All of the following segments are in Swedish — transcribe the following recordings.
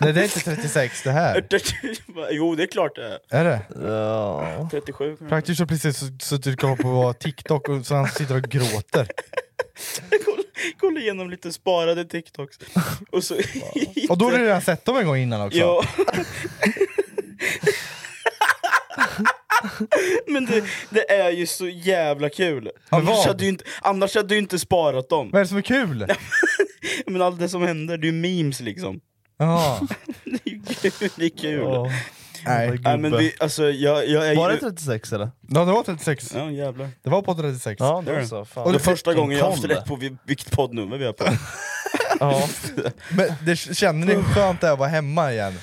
Nej, det är inte 36 det här. Äh, jo, det är klart det Är är. det? 37 kanske. Praktiskt har precis suttit och kollat på TikTok och så han sitter och gråter. Kolla- Kolla igenom lite sparade TikToks. Och så... Och då har du redan sett dem en gång innan också. Ja. Men det, det är ju så jävla kul. Annars vad? hade, ju inte, annars hade du inte sparat dem. Vad är det som är kul? Men allt det som händer, det är ju memes liksom. Ja. Det är ju kul, det är kul. Nej. Nej, men vi, alltså, jag, jag är Var det ju... 36 eller? Ja, det var 36. Ja, jävlar. Det var på 36. Ja, Där. då så. Fan. Det är Och första gången jag har haft kom det. rätt på vil- vilket poddnummer vi är på. Ja. Men det, känner ni hur skönt det är att vara hemma igen?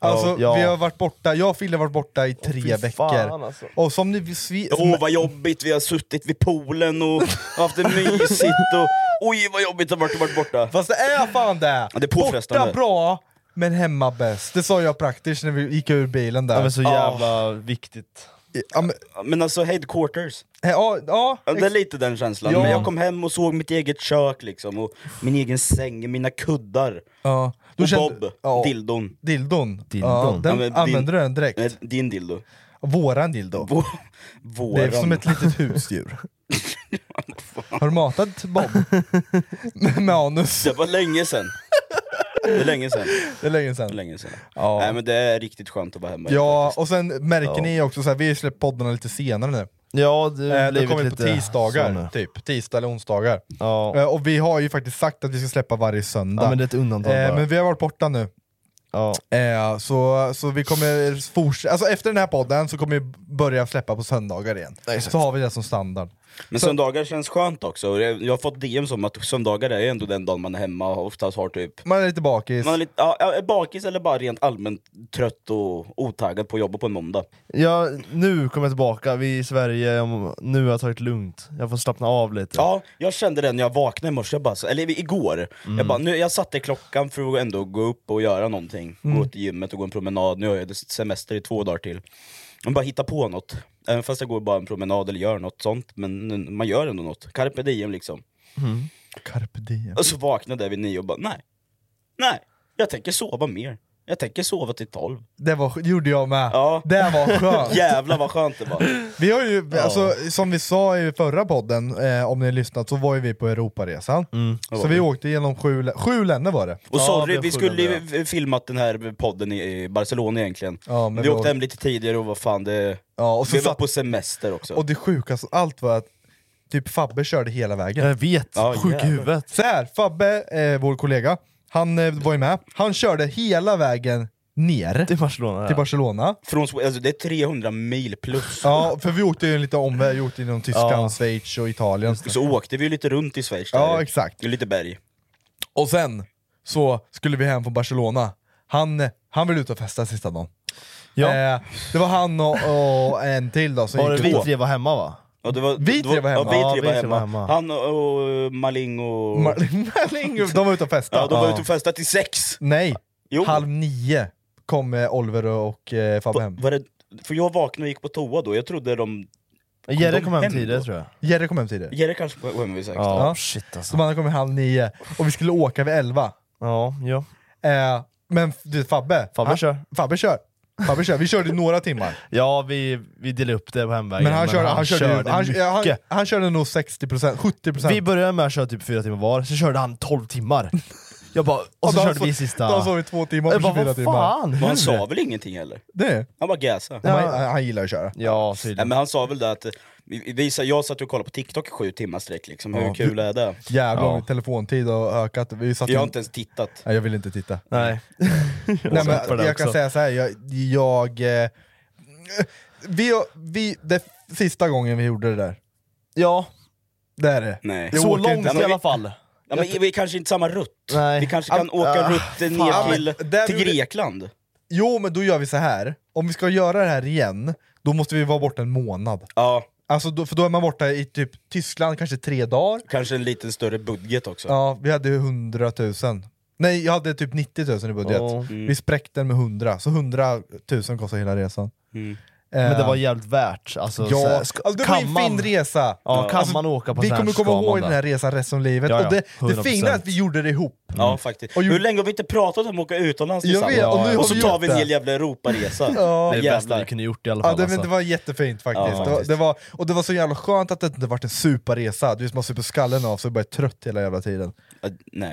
Alltså, Ja, ja. vi har varit borta, jag och Fille har varit borta i Fy tre fan, veckor. alltså. Och som ni svi- Åh vad jobbigt, vi har suttit vid poolen och haft det mysigt och... Oj vad jobbigt det har varit att vara borta. Fast det är fan det! Ja, det är påfrestande. Borta bra, men hemma bäst. Det sa jag praktiskt när vi gick ur bilen där. Ja, men så jävla viktigt. Ja, men, Men alltså headquarters. ja, ja, Ja, det är lite den känslan. Ja. Men jag kom hem och såg mitt eget kök liksom, och min egen säng, mina kuddar. Ja. Du och kände- Bob, ja. dildon. Dildon. Dildon. Ja, Ja, den men din- använder du den direkt? Nej, din dildo. Våran dildo. Vår, Det är våran. som ett litet husdjur. Har du matat Bob? Med med anus? Det var länge sen. Det är länge sen. Det är länge Det är sedan. länge sen. Ja. Nej men det är riktigt skönt att vara hemma. Ja, och sen märker ni också, så här, vi har släppt poddarna lite senare nu. Ja, det Eh, har det blivit kommer på lite så nu. tisdagar, typ. Tisdag eller onsdagar. Ja. Eh, och vi har ju faktiskt sagt att vi ska släppa varje söndag. ja, men det är ett undantag eh, bara. men vi har varit borta nu. ja. Eh, så, så vi kommer fortsätta, alltså efter den här podden så kommer vi börja släppa på söndagar igen. så har vi det som standard. Men söndagar känns skönt också. Och Jag jag har fått DM som att söndagar är ändå den dagen man är hemma och oftast har typ Man är lite bakis. man är lite, ja, ja, är bakis eller bara rent allmänt trött och otaggad på att jobba på en måndag. ja, nu kommer jag tillbaka, vi är i Sverige, om- nu har jag tagit det lugnt. Jag får slappna av lite. Ja, jag kände det när jag vaknade i morse, jag bara, så- eller igår. Jag, bara, nu, jag satte klockan för att ändå gå upp och göra någonting. Gå till gymmet och gå en promenad, nu har jag semester i två dagar till. Men bara hitta på något. Även fast jag går bara en promenad eller gör något sånt, men man gör ändå något. Carpe diem liksom. Carpe diem. Och så vaknade jag vid nio och bara, nej. Nej, jag tänker sova mer. Jag tänker sova till tolv. Det var, gjorde jag med. Ja. Det var skönt. Jävlar vad skönt det var. Vi har ju, alltså, som vi sa i förra podden, eh, om ni har lyssnat, så var ju vi på Europaresan. Så vi åkte genom sju, lä- sju länder var det. Och Ja, sorry, det vi skulle skulle ju filmat den här podden i- i Barcelona egentligen. Ja, men men vi vi åkte åkte- hem lite tidigare och vad fan det... Ja, och så vi var satt- på semester också. Och det sjukaste av allt var att typ Fabbe körde hela vägen. Jag vet, Ja, sjuk jävlar. i huvudet. Så här, Fabbe, eh, vår kollega, han eh, var ju med. Han körde hela vägen ner Till Barcelona. till ja. Barcelona. Från, Swe- alltså, det är 300 mil plus. Ja, för vi åkte ju en liten omväg, vi åkte inom Tyskland, Ja. Schweiz och Italien. Så åkte vi lite runt i Schweiz där. Ja, exakt. Det är lite berg. Och sen så skulle vi hem från Barcelona. Han, han ville ut och festa sista dagen. Ja. Eh, det var han och, och en till då som Var det gick vi ut. tre var hemma va? Ja, det var, Vi det var, tre var hemma. Ja, Ja, vi tre var hemma. Han och, och Maling och... Mar- Marlingo, de var ute och festade. ja, de var ute och festade till sex! Nej, Jo. halv nio kom eh, Oliver och eh, Fabbe hem. Var det, för jag vaknade och gick på toa då, jag trodde de... Jerry de kom hem hem tidigare då? tror jag. Jerry kom hem tidigare. Jerry kanske var hemma vid sex då. Ja, Ja. shit alltså. De andra kom hem halv nio, och vi skulle åka vid elva. Ja, ja. Eh, men f- du vet, Fabbe, Fabbe han, kör. Fabbe kör. Fabbe kör. Vi körde i några timmar. ja vi, vi delade upp det på hemvägen. Men han, körde, han, körde, ju- han, mycket. ja, han, han körde nog 60%, 70%. Vi började med att köra typ fyra timmar var, så körde han 12 timmar. Jag bara, och så de körde sov- vi sista... De sov i två timmar jag på bara, 24 vad timmar. fan? Och hur? han sa väl ingenting heller? Det. Han bara gasade. Ja. Han, han gillar att köra. Ja, Nej, tydligen. men han sa väl det att, eh, vi, vi, sa- jag satt och kollade på TikTok i sju timmar sträck liksom, hur kul är det? Jävlar om Ja. ja. telefontid har ökat. Vi satt Jag har in- inte ens tittat. Nej, jag vill inte titta. Nej. Nej, satt på men det jag kan också. säga så här. jag... jag eh, vi, vi, det f- sista gången vi gjorde det där, Ja, det är det. Nej. Jag så åker långt inte- i alla fall. Ja, men vi är kanske inte samma rutt. Nej. Vi kanske kan Ah, åka ah, rutt fan. ner Ja, men till, där till gjorde- Grekland. Jo men då gör vi så här. om vi ska göra det här igen, då måste vi vara borta en månad. Ja, Alltså, då, för då är man borta i typ Tyskland kanske tre dagar. kanske en lite större budget också. Ja, vi hade ju 100 000. Nej, jag hade typ 90 000 i budget. Ja. Vi spräckte den med 100, så 100 000 kostade hela resan. Mm. Men det var jävligt värt. Alltså, så Ja, här, alltså, det var ju en fin resa! Ja, kan Alltså, man åka på vi sån här kommer komma ska man ihåg det. den här resan resten av livet, Ja, ja, och det, det 100%. fina är att vi gjorde det ihop. Ja faktiskt. Och ju- Hur länge har vi inte pratat om att åka utomlands Jag tillsammans? vet, och nu och, har så vi tar gjort vi en det. hel jävla Europaresa. Ja. Det är det bästa vi Jävlar. kunde gjort i alla fall. Ja, det, men alltså. det var jättefint faktiskt. Ja, det var, faktiskt. det var, och det var så jävla skönt att det inte vart en superresa, du vet man super skallen av så bara är trött hela jävla tiden. Ja, Äh, Nej.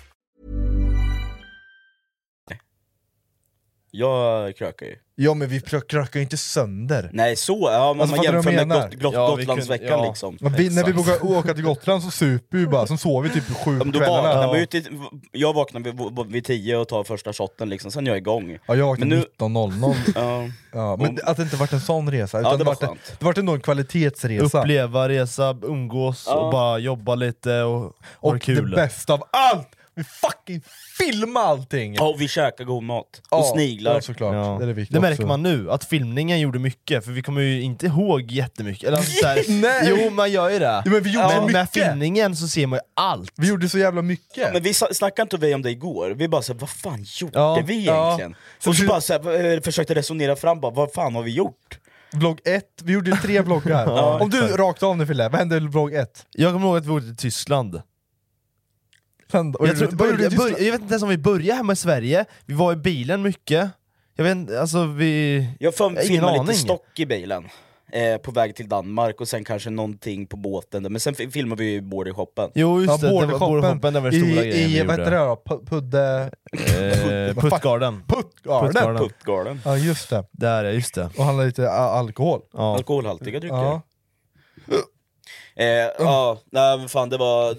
Jag krökar ju. Ja men vi krö- krökar ju inte sönder. Nej så, ja, man Alltså, fattar du jämför vad jag med menar? Got, Got, Ja, vi kunde- Gotlandsveckan ja. liksom. Men Vi, när vi Exakt. brukar åka till Gotland så super vi bara, sen sover vi typ sju Ja, men på Då kvällarna. vaknar man ju till, jag vaknar vid, vid tio och tar första shotten liksom, sen är jag igång. Ja, jag vaknade Men nu- 19.00. Ja. Ja, men att det inte vart en sån resa, utan det det, var vart, det skönt. vart ändå en kvalitetsresa. Uppleva, resa, umgås och bara jobba lite och ha det och kul. det bästa av allt! Vi fucking filmar allting! Ja, och vi käkar god mat. Och Ja, sniglar. Ja, såklart. Ja. Det, är det, viktiga Det märker också. man nu, att filmningen gjorde mycket, för vi kommer ju inte ihåg jättemycket. Eller alltså, så här, jo, man gör ju det. Jo, men vi gjorde så med mycket. filmningen så ser man ju allt. Vi gjorde så jävla mycket! Men vi sa- snackade inte vi om det igår, vi bara såhär, vad fan gjorde Ja, vi ja. egentligen? Och så bara så här, eh, försökte resonera fram, bara, vad fan har vi gjort? Vlogg 1, vi gjorde ju tre vloggar. Om du rakt av nu Fille, vad hände i vlogg 1? Jag kommer ihåg att vi åkte till Tyskland. Sen, och Jag, tror, gjorde- vad gjorde började, du i jag, Tyskland? började, jag vet inte ens om vi började hemma i Sverige, vi var i bilen mycket. Jag vet inte, alltså vi... Jag Jag har för- ingen filmade lite aning. stock i bilen, eh, på väg till Danmark och sen kanske någonting på båten, där. men sen fi- filmade vi ju boardingshoppen. Jo just det, det var bordershoppen Borderhoppen, det var den stora i, grejen vi I, vad gjorde. heter det då? Pu- Pudde... Eh, Puttgarden. Puttgarden? Puttgarden. Puttgarden. Ja just det, Där ja, just det. och handla lite a- alkohol. Ja. Alkoholhaltiga drycker. Ja. Eh, ja, nej men fan det var eh,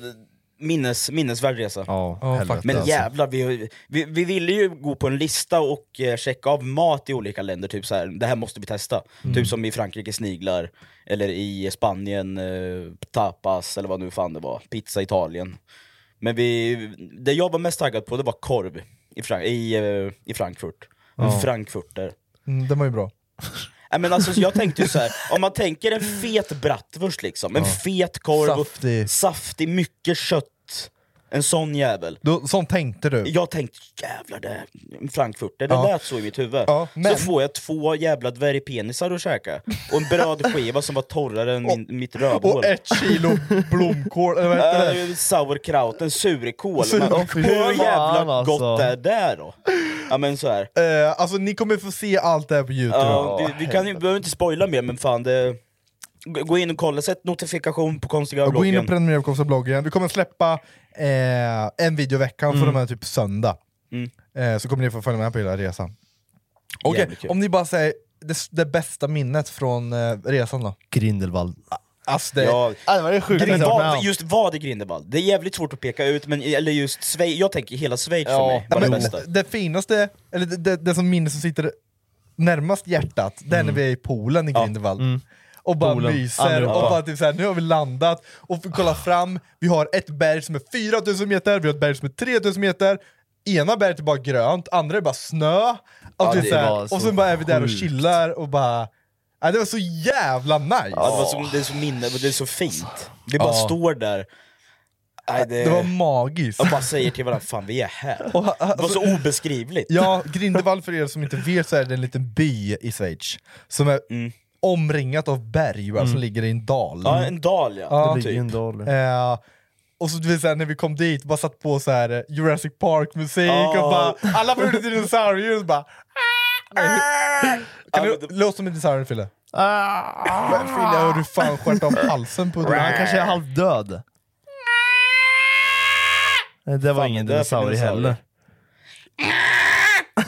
minnes, minnesvärd resa. Ja, Ja, helvete faktiskt. Men alltså. jävlar, vi, vi, vi ville ju gå på en lista och eh, checka av mat i olika länder, typ så här, det här måste vi testa. Typ som i Frankrike sniglar, eller i Spanien eh, tapas, eller vad nu fan det var, pizza Italien. Men vi, det jag var mest taggad på det var korv i, Frank- i, eh, i Frankfurt. Frankfurter. Mm, den var ju bra. Nej, men alltså, så jag tänkte ju så här, om man tänker en fet bratwurst liksom, en fet korv, och- Saftig. saftig, mycket kött, en sån jävel. Då, sånt tänkte du? Jag tänkte jävlar det här, Frankfurt, det Ja. lät så i mitt huvud. Ja, men- Så får jag två jävla dvärgpenisar att käka, och en brödskiva som var torrare än min, mitt Och rövhål. ett kilo blomkål, eller vad heter det? Äh, sauerkraut, en surkål. Surkål, Men Hur fan, jävla alltså. gott är det då? Ja men så här. Eh, alltså ni kommer få se allt det här på youtube. Ja, vi, vi kan ju, behöver inte spoila mer men fan det... Gå gå in och kolla, sätt notifikation på konstiga Gå in och bloggen. prenumerera på Kompisar-bloggen. Vi kommer släppa eh, en video i veckan, för de är typ söndag. Mm. Eh, så kommer ni få följa med på hela resan. Okej, Jävligt kul. om ni bara säger det, det bästa minnet från eh, resan då? Grindelwald. Ass, det- Ja. Ja, det var det sjukaste Men jag har varit vad, med om. just vad är Grindelwald? Det är jävligt svårt att peka ut, men eller just Schweiz, jag tänker hela Schweiz för mig var Ja, det men bästa. det, det finaste, eller det, det, det som minnet som sitter närmast hjärtat, det är när vi är i poolen i Grindelwald. Och bara Poolen. myser, Ja. och bara typ såhär, nu har vi landat, och vi kollar fram, vi har ett berg som är 4000 meter, vi har ett berg som är 3000 meter, ena berget är bara grönt, andra är bara snö, och, typ det så här, var så och sen bara är vi där och sjukt. chillar och bara... Ja, det var så jävla nice! Ja, det, var så, det är så minne, det är så fint. Vi bara Ja. står där, Nej, det, Det var magiskt! och bara säger till varandra 'Fan vi är här' Det var så obeskrivligt. alltså- Ja, Grindelwald för er som inte vet så är det en liten by i Schweiz som är omringat av berg va, som ligger i en dal. Mm. Ja, en dal ja. Typ. Ja. Det ligger en dal. Eh, och så, du vet, så här, när vi kom dit, bara satt på så här eh, Jurassic Park-musik Ja. och bara alla blev dinosaurier och bara... "Ah!" Kan Ja, du men det- Ah. låt som en dinosaurie Fille? Ah! Men Fille, har du fan skärt av halsen på dig? Han kanske är halvdöd. Nej, Det var ingen det är för dinosaurie dinosaurie.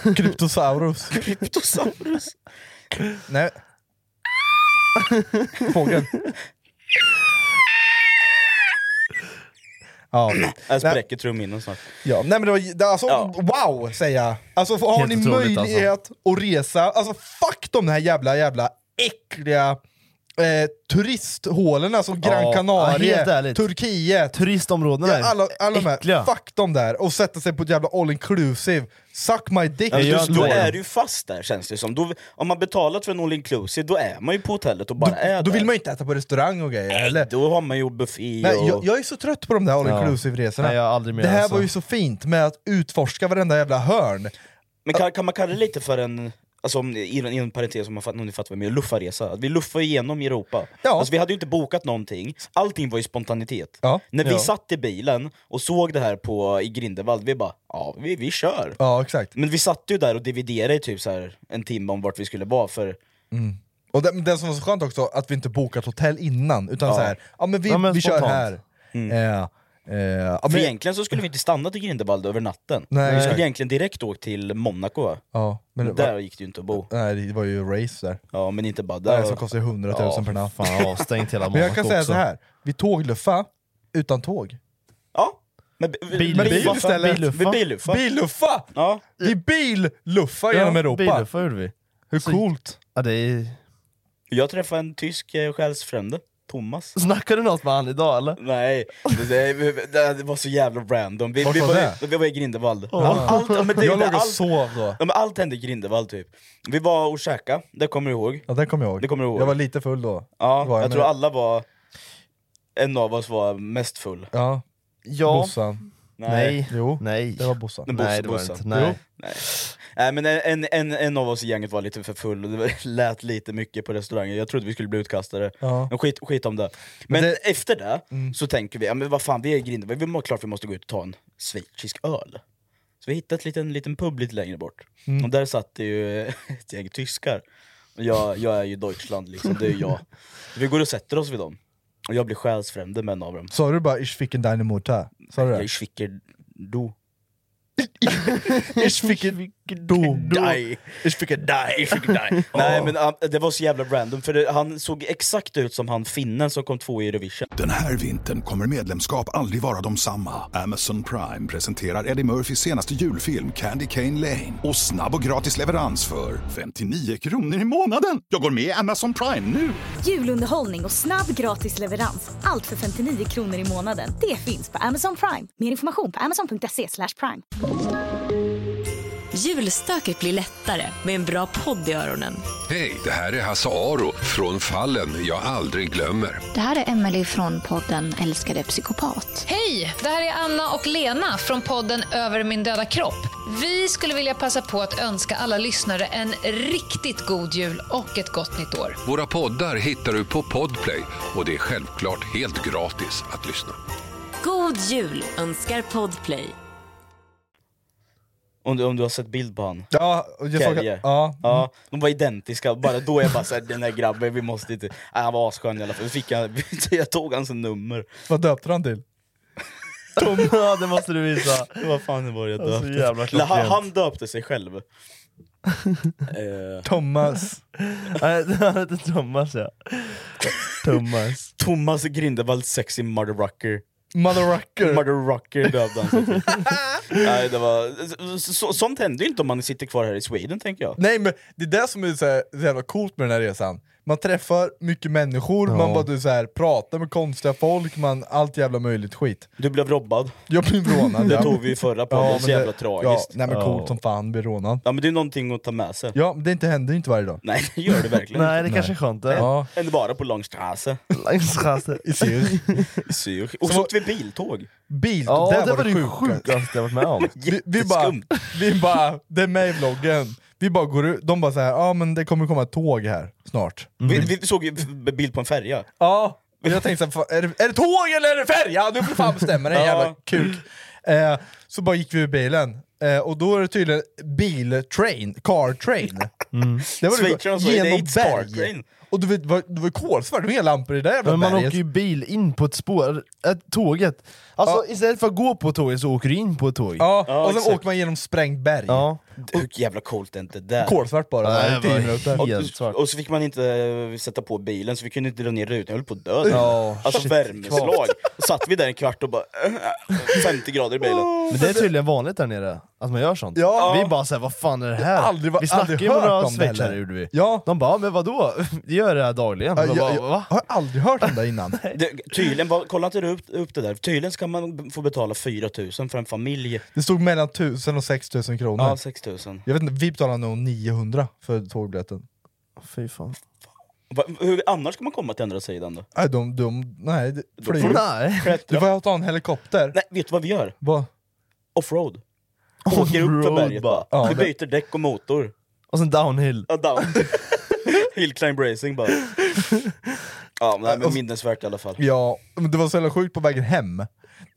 heller. Kryptosaurus. Kryptosaurus. Nej. Fågeln. Ja. Jag spräcker trumhinnan snart. ja, nej men det var, det, alltså, Ja. wow säger jag! Alltså har Helt ni otroligt, möjlighet att resa, alltså fuck de här jävla jävla äckliga eh, turisthålorna som Gran Ja, ja, helt Canaria, ärligt. Turkiet, Turistområdena ja, där. alla, alla de här, Äckliga. fuck de där, och sätta sig på ett jävla all inclusive, suck my dick! Jag gör Just, inte då det. är du ju fast där känns det som. Då, om man betalat för en all inclusive, då är man ju på hotellet och bara är då där. vill man ju inte äta på restaurang och grejer heller. Nej, då har man ju buffé Nej, och... jag, jag är så trött på de där all inclusive-resorna. Nej, jag har aldrig mer det här alltså. var ju så fint med att utforska varenda jävla hörn. Men kan, kan man kalla det lite för en, alltså om, inom, inom parentes om, man fatt, om ni fattar vad jag menar, luffarresa? Att Vi luffade igenom Europa. Ja. Alltså, vi hade ju inte bokat någonting, allting var ju spontanitet. Ja. När vi Ja. satt i bilen och såg det här på, i Grindelwald, vi bara ja, vi, vi kör. Ja, exakt. Men vi satt ju där och dividerade i typ så här en timme om vart vi skulle vara för Och det, det som var så skönt också, att vi inte bokat hotell innan, utan Ja. så här, ja men vi, Ja, men vi kör spontant. här. Eh, eh, ja, För men- egentligen så skulle vi inte stannat i Grindelwald över natten. Nej. vi skulle egentligen direkt åkt till Monaco. va? ja, men det Men var, där gick det ju inte att bo. nej, det var ju race där, Ja, men inte bara ja. där. som kostade 100 000 per natt. Fan avstängt hela Men Monaco jag kan säga också. så här. vi tågluffa utan tåg. Ja. Men, Bil- Med bil bil istället. Vi billuffa. Billuffa! Ja. Vi billuffa genom Europa! Biluffa gjorde vi. Hur coolt? Ja, det är... Jag träffade en tysk eh, själsfrände, Thomas. Snackar du något med han idag eller? Nej, det, det, det var så jävla random. Vi, Vart vi, var var, det? i- vi var i Grindelwald. Allt, ja, men det, Jag det, låg och allt, sov då. ja, men allt hände i Grindelwald typ. Vi var och käkade, det kommer du ihåg? Ja, det kommer jag ihåg. Det kommer du ihåg. Jag var lite full då. Ja, Var jag, jag tror med? alla var... En av oss var mest full. Ja, Ja. Bossan. Nej. Jo, Nej. det var Bossan. Men Nej Bosse- det var Bosse. inte. Nej. Nej. Nej Äh, men en, en, en av oss i gänget var lite för full och det var- lät lite mycket på restaurangen, jag trodde vi skulle bli utkastade. Ja. Men skit, skit om det. Men, det- Mm. efter det så tänker vi, ja, men vad fan vi är i Grindelwald, vi må, klart vi måste gå ut och ta en schweizisk öl. Så vi hittade en liten, liten pub lite längre bort, Mm. och där satt det ju ett gäng tyskar. Och Jag, jag är ju Deutschland liksom, det är ju jag. Så vi går och sätter oss vid dem, och jag blir själsfrände med en av dem. Sa du bara 'Ich fick en deine Mutter'? Sa du Jag är det? schwicker du. Ich fick en dom. Die! Ich fick die! Ich fick die. Nej men ah, det var så jävla random, för det, han såg exakt ut som han finnen som kom två i Eurovision. Den här vintern kommer medlemskap aldrig vara de samma. Amazon Prime presenterar Eddie Murphys senaste julfilm Candy Cane Lane. Och snabb och gratis leverans för 59 kronor i månaden. Jag går med i Amazon Prime nu! Julunderhållning och snabb gratis leverans. Allt för 59 kronor i månaden. Det finns på Amazon Prime. Mer information på amazon.se slash prime. Julstöket blir lättare med en bra podd i öronen. Hej, det här är Hasse Aro från Fallen jag aldrig glömmer. Det här är Emelie från podden Älskade psykopat. Hej, det här är Anna och Lena från podden Över min döda kropp. Vi skulle vilja passa på att önska alla lyssnare en riktigt god jul och ett gott nytt år. Våra poddar hittar du på Podplay och det är självklart helt gratis att lyssna. God jul önskar Podplay. Om du, om du har sett bild på han. Ja, och jag såg, Kelje. ja. Ja, de var identiska, bara då är jag bara såhär, den här grabben, vi måste inte... Nej, han var asskön i alla fall, Så fick jag, jag tog hans nummer. Vad döpte han till? ja det måste du visa. Vad fan var det jag Alltså, döpte? jävla Eller han, klockrent. han döpte sig själv. Eh, Thomas. Nej, han heter Thomas ja. Thomas. Thomas Grindelwald sexy mother rocker. Mother rocker. Mother rocker döpte han sig till. Nej, det var... så, Sånt händer ju inte om man sitter kvar här i Sweden tänker jag. Nej men det är det som är så, här, så jävla coolt med den här resan. Man träffar mycket människor, man bara du, så här, pratar med konstiga folk, man allt jävla möjligt skit. Du blev robbad. Jag blev rånad Det ja. tog vi i förra podden, men så jävla tragiskt. Ja, nej men coolt som fan, blir rånad. Ja men det är någonting att ta med sig. Ja, men det inte händer inte varje dag. Nej det gör det verkligen Nej, det inte. kanske är skönt. det. Ja. Eller bara på Långstrasse. Längsrasse. I Zürich. I Zürich. Och så åkte vi biltåg. Bil, Ja, där det var var det sjuka. sjukaste jag varit med om. Vi, vi bara, Jätteskumt. vi bara, det är med i vloggen. Vi bara går ut, de bara såhär, ja ah, men det kommer komma ett tåg här snart. Vi, vi såg ju en bild på en färja. Ja, men jag tänkte såhär, fan, är det, är det tåg eller är det färja? Du får fan bestämma dig jävla Ja. kuk. Eh, så bara gick vi ur bilen, eh, och då är det tydligen biltrain, car train. Det var Schweizarna sa det, ju, det är genom ett berg. spartrain. Och du vet, det var, det var kolsvart, det var hela lampan i det där jävla Men man berget. åker ju bil in på ett spår, ett tåget. Alltså istället för att gå på tåget så åker du in på ett tåg. Ja, Ja, och sen exakt. åker man genom sprängt berg. Ja. Hur jävla coolt är inte det där? Kolsvart bara, där, Ja, det i tio var minuter. helt- Och, svart. och så fick man inte eh, sätta på bilen, så vi kunde inte dra ner rutan, jag höll på att dö. Ja, alltså shit. värmeslag. Och satt vi där en kvart och bara... 50 grader i bilen. Men det är tydligen vanligt där nere, att man gör sånt. Ja. Vi bara såhär, vad fan är det här? Aldrig va- vi snackade aldrig ju med hört några om det schweizare heller. gjorde vi. Ja. De bara, men vadå? Vi gör det här dagligen. Ja, jag, Man bara, jag va? har aldrig hört om det innan. Det, tydligen, var, kolla inte upp, upp det där, tydligen ska man b- få betala 4000 för en familj. Det stod mellan 1000 och 6000 kronor. Ja, 6000. Jag vet inte, vi betalade nog 900 för tågbiljetten. Fy fan. Va- Hur annars ska man komma till andra sidan då? Nej, de, de, nej, det- flyg. får Nej. Du Klättra? får ta en helikopter. Nej, vet du vad vi gör? Va? Offroad. Åker upp för Offroad berget bara. bara. Ja, vi det- byter däck och motor. Och sen downhill. Ja, down. Hill climb racing bara. Ja, men, men minnesvärt i alla fall. Ja, men det var så jävla sjukt på vägen hem.